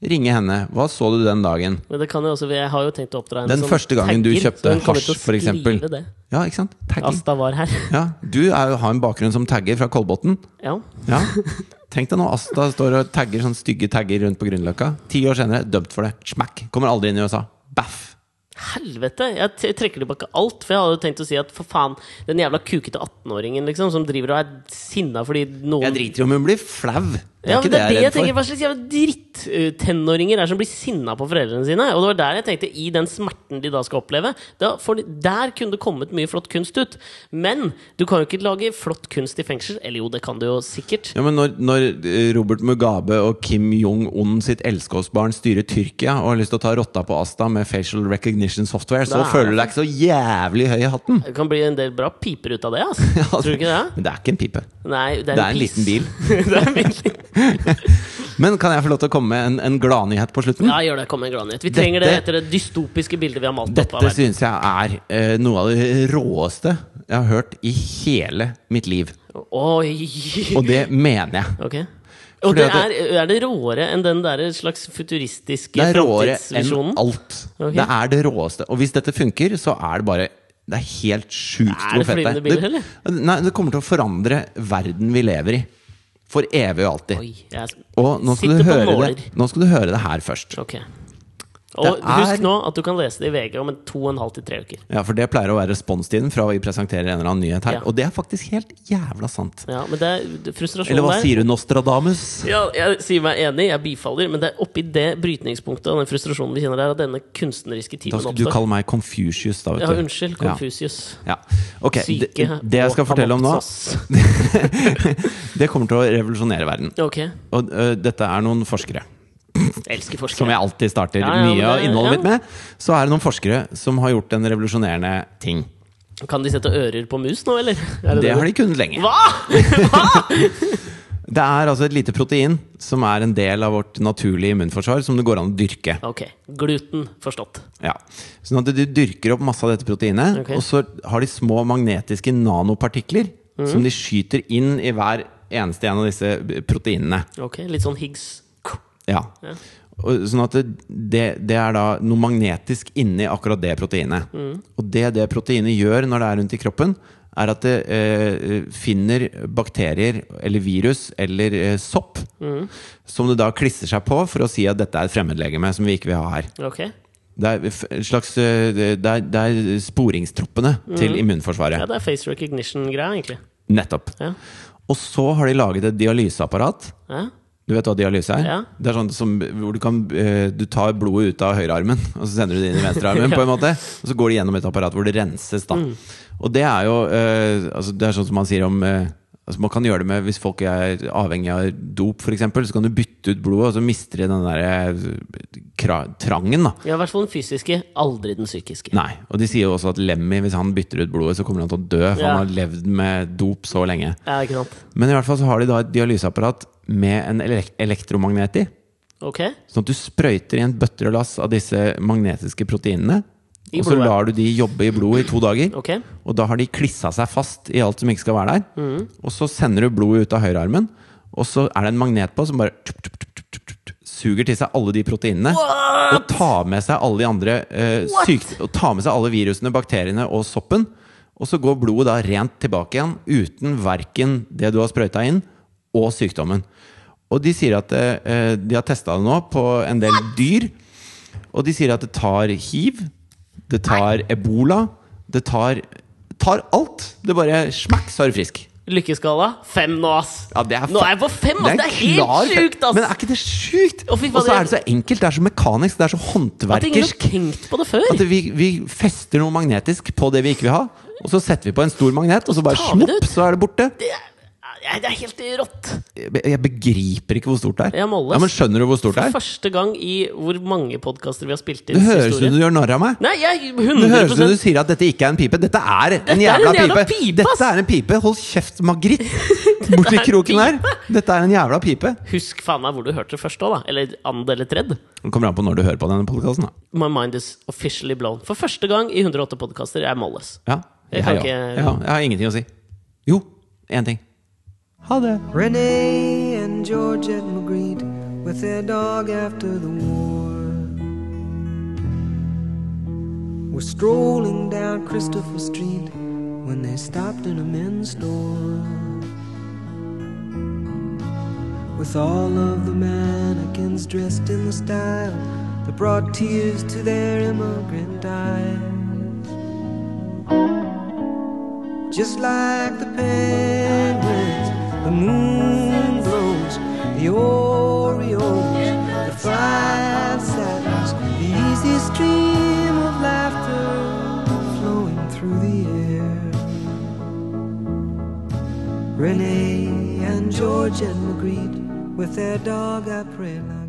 Speaker 1: Ringe henne. Hva så du den dagen?
Speaker 2: Men det kan jo også, jeg har jo tenkt å oppdra henne
Speaker 1: Den
Speaker 2: som
Speaker 1: første gangen du
Speaker 2: tagger,
Speaker 1: kjøpte
Speaker 2: så hun kommer til å
Speaker 1: hasj, for eksempel.
Speaker 2: skrive det.
Speaker 1: Ja, ikke sant? Tagging.
Speaker 2: Asta var her.
Speaker 1: Ja, du er, jo- har en bakgrunn som tagger fra Kolbotn.
Speaker 2: Ja.
Speaker 1: Ja. Tenk deg nå Asta står og tagger sånne stygge tagger rundt på Grünerløkka. Ti år senere, dømt for det. Smack! Kommer aldri inn i USA. Baff!
Speaker 2: Helvete! Jeg t- trekker tilbake alt, for jeg hadde jo tenkt å si at for faen, den jævla kukete 18-åringen liksom, som driver og er sinna fordi noen
Speaker 1: Jeg driter i om hun blir flau. Det er
Speaker 2: Ja,
Speaker 1: ikke
Speaker 2: men det er det jeg tenker.
Speaker 1: for.
Speaker 2: Hva slags jævla drittenåringer er det som blir sinna på foreldrene sine? Og det var der jeg tenkte, i den smerten de da skal oppleve da får de, Der kunne det kommet mye flott kunst ut. Men du kan jo ikke lage flott kunst i fengsel. Eller jo, det kan du jo sikkert.
Speaker 1: Ja, men når, når eh, Robert Mugabe og Kim Jong-un sitt elskåsbarn styrer Tyrkia og har lyst til å ta rotta på Asta med facial recognition software, så
Speaker 2: Da er
Speaker 1: føler
Speaker 2: det-
Speaker 1: du deg ikke så jævlig høy i hatten.
Speaker 2: Det kan bli en del bra piper ut av det, ass.
Speaker 1: Ja,
Speaker 2: Tror du ikke det?
Speaker 1: Men det er ikke en pipe.
Speaker 2: Nei, det er en,
Speaker 1: Det er en
Speaker 2: piss.
Speaker 1: liten bil.
Speaker 2: det er en bil.
Speaker 1: Men kan jeg få lov til å komme med en, en gladnyhet på slutten?
Speaker 2: Ja, gjør det. Kom med en gladnyhet. Vi trenger det
Speaker 1: Dette-
Speaker 2: etter det dystopiske bildet vi har malt opp
Speaker 1: Dette
Speaker 2: av verden.
Speaker 1: syns jeg er eh, noe av det råeste jeg har hørt i hele mitt liv.
Speaker 2: Oi!
Speaker 1: Og det mener jeg.
Speaker 2: Ok. Og
Speaker 1: Fordi
Speaker 2: det
Speaker 1: at
Speaker 2: er, er det råere enn den der slags futuristiske
Speaker 1: Det er råere enn
Speaker 2: framtidsvisjonen?
Speaker 1: alt.
Speaker 2: Ok.
Speaker 1: Det er det råeste. Og hvis dette funker, så er det bare det er helt sjukt
Speaker 2: Er
Speaker 1: hvor
Speaker 2: det
Speaker 1: fett det
Speaker 2: flyvende biler, eller?
Speaker 1: Nei, det kommer til å forandre verden vi lever i. For evig og alltid.
Speaker 2: Oi, jeg
Speaker 1: Og nå skal,
Speaker 2: sitter
Speaker 1: du
Speaker 2: på
Speaker 1: høre
Speaker 2: nåler.
Speaker 1: det. nå skal du høre det her først.
Speaker 2: Ok. Og
Speaker 1: Det er-
Speaker 2: husk nå at du kan lese det i VG om en to og en halv til tre uker.
Speaker 1: Ja, For det pleier å være responstiden fra vi presenterer en eller annen nyhet her.
Speaker 2: Ja.
Speaker 1: Og det er faktisk helt jævla sant.
Speaker 2: Ja, men det er frustrasjon
Speaker 1: Eller hva
Speaker 2: der.
Speaker 1: sier du, Nostradamus?
Speaker 2: Ja, jeg sier meg enig, jeg bifaller, men det er oppi det brytningspunktet og den frustrasjonen vi kjenner der, at denne kunstneriske
Speaker 1: Da
Speaker 2: timen
Speaker 1: skal du
Speaker 2: oppstår.
Speaker 1: kalle meg Confucius, da. vet
Speaker 2: Ja,
Speaker 1: du.
Speaker 2: unnskyld, Confucius.
Speaker 1: Ja. Ok, det,
Speaker 2: Syke
Speaker 1: det jeg skal
Speaker 2: og
Speaker 1: fortelle om nå,
Speaker 2: Amopsos.
Speaker 1: det kommer til å revolusjonere verden.
Speaker 2: Ok.
Speaker 1: Og ø, dette er noen forskere,
Speaker 2: Jeg elsker
Speaker 1: som
Speaker 2: forskere.
Speaker 1: jeg alltid starter
Speaker 2: Ja, ja, men
Speaker 1: mye av
Speaker 2: det-
Speaker 1: innholdet
Speaker 2: ja.
Speaker 1: mitt med. Så er det noen forskere som har gjort en revolusjonerende ting.
Speaker 2: Kan de sette ører på mus nå, eller? Er
Speaker 1: Det har de kunnet lenge.
Speaker 2: Hva?!
Speaker 1: Det er altså et lite protein som er en del av vårt naturlige immunforsvar, som det går an å dyrke.
Speaker 2: Ok. Gluten, forstått.
Speaker 1: Ja. Sånn at du dyrker opp masse av dette proteinet,
Speaker 2: Ok.
Speaker 1: og så har de små magnetiske nanopartikler som de skyter inn i hver eneste en av disse proteinene.
Speaker 2: Ok, Litt sånn Higgs.
Speaker 1: Ja. Og, sånn at det, det, det er da noe magnetisk inni akkurat det proteinet. Og det det proteinet gjør når det er rundt i kroppen, er at det eh, finner bakterier eller virus eller eh, sopp som det da klisser seg på for å si at dette er et fremmedlegeme som vi ikke vil ha her.
Speaker 2: Ok.
Speaker 1: Det er, f- en slags, eh, det er, det er sporingstroppene til immunforsvaret.
Speaker 2: Mm. Ja, det er face recognition-greia, egentlig.
Speaker 1: Nettopp.
Speaker 2: Ja.
Speaker 1: Og så har de laget et dialyseapparat.
Speaker 2: Ja.
Speaker 1: Du vet hva dialyse er?
Speaker 2: Ja.
Speaker 1: Det er sånn som, hvor du, kan, eh, du tar blodet ut av høyrearmen, og så sender du det inn i venstrearmen, på en måte. Og så går det gjennom et apparat hvor det renses, da.
Speaker 2: Mm.
Speaker 1: Og det er jo eh, altså, Det er sånn som man sier om eh, altså, Man kan gjøre det med hvis folk er avhengig av dop, f.eks. Så kan du bytte ut blodet, og så mister de den derre trangen, da.
Speaker 2: ja, i hvert fall den fysiske. Aldri den psykiske.
Speaker 1: Nei, og de sier jo også at Lemmy, hvis han bytter ut blodet, så kommer han til å dø. For
Speaker 2: Ja.
Speaker 1: han har levd med dop så lenge.
Speaker 2: Ja, ikke sant?
Speaker 1: Men i hvert fall så har de da et dialyseapparat med en elek elektromagnet i.
Speaker 2: Ok.
Speaker 1: Sånn at du sprøyter i en bøtter og lass av disse magnetiske proteinene.
Speaker 2: I
Speaker 1: Og så
Speaker 2: blodet.
Speaker 1: lar du de jobbe i blodet i to dager.
Speaker 2: Ok.
Speaker 1: Og da har de klissa seg fast i alt som ikke skal være der. Og så sender du blodet ut av høyrearmen. Og så er det en magnet på som bare tup, tup, tup, tup, tup, tup, suger til seg alle de proteinene. Og tar med seg alle de andre eh,
Speaker 2: What?
Speaker 1: syk, Og tar med seg alle virusene, bakteriene og soppen. Og så går blodet da rent tilbake igjen uten verken det du har sprøyta inn, og sykdommen. Og de sier at eh, de har testa det nå på en del dyr. Og de sier at det tar hiv, det tar ebola, det tar, tar alt. Det bare smakk, så er du frisk.
Speaker 2: Lykkeskala fem nå, ass!
Speaker 1: Ja, det er
Speaker 2: nå
Speaker 1: fa-
Speaker 2: er jeg på fem! ass. Det er,
Speaker 1: klar-
Speaker 2: helt sjukt, ass!
Speaker 1: Men er ikke det sjukt?
Speaker 2: Å,
Speaker 1: Og
Speaker 2: fy faen,
Speaker 1: så er
Speaker 2: det-
Speaker 1: det så enkelt. Det er så mekanisk, det er så
Speaker 2: At ingen har
Speaker 1: håndverkersk.
Speaker 2: tenkt på det før!
Speaker 1: At vi, vi fester noe magnetisk på det vi ikke vil ha, og så setter vi på en stor magnet, og så bare
Speaker 2: tar vi det
Speaker 1: smopp,
Speaker 2: ut.
Speaker 1: så er det borte.
Speaker 2: Det er, ja, det er helt rått!
Speaker 1: Jeg jeg begriper ikke hvor stort det er.
Speaker 2: Jeg må holde,
Speaker 1: Ja, men
Speaker 2: ass.
Speaker 1: Skjønner du hvor stort det er?
Speaker 2: Første gang i hvor mange podkaster vi har spilt inn
Speaker 1: Det høres ut
Speaker 2: historie.
Speaker 1: som du gjør narr av meg.
Speaker 2: Nei, jeg
Speaker 1: Det høres
Speaker 2: 100
Speaker 1: ut som du sier at dette ikke er en pipe. Dette er en,
Speaker 2: er
Speaker 1: jævla,
Speaker 2: en jævla
Speaker 1: pipe.
Speaker 2: pipe, ass.
Speaker 1: Dette er en pipe. Hold kjeft, Margrit, borti
Speaker 2: er en
Speaker 1: kroken her. Dette er en jævla pipe.
Speaker 2: Husk faen meg hvor du hørte det først òg, da. Eller and eller tredd.
Speaker 1: Det kommer an på når du hører på denne podkasten, da.
Speaker 2: My mind is officially blown. For første gang i 108 podkaster er Molles.
Speaker 1: Ja. Jeg,
Speaker 2: Jeg kan
Speaker 1: ja.
Speaker 2: ikke-
Speaker 1: ja. Jeg har ingenting å si. Jo, én ting. Ha det.
Speaker 3: Renee and Georgette Magritte with their dog after the war. Were strolling down Christopher Street when they stopped in a men's store. With all of the mannequins dressed in the style that brought tears to their immigrant eyes. Just like the penguins, the moon blows, the Oreos, the five saddles, the easy stream of laughter flowing through the air. Renee and George and Magritte with their dog, I pray like.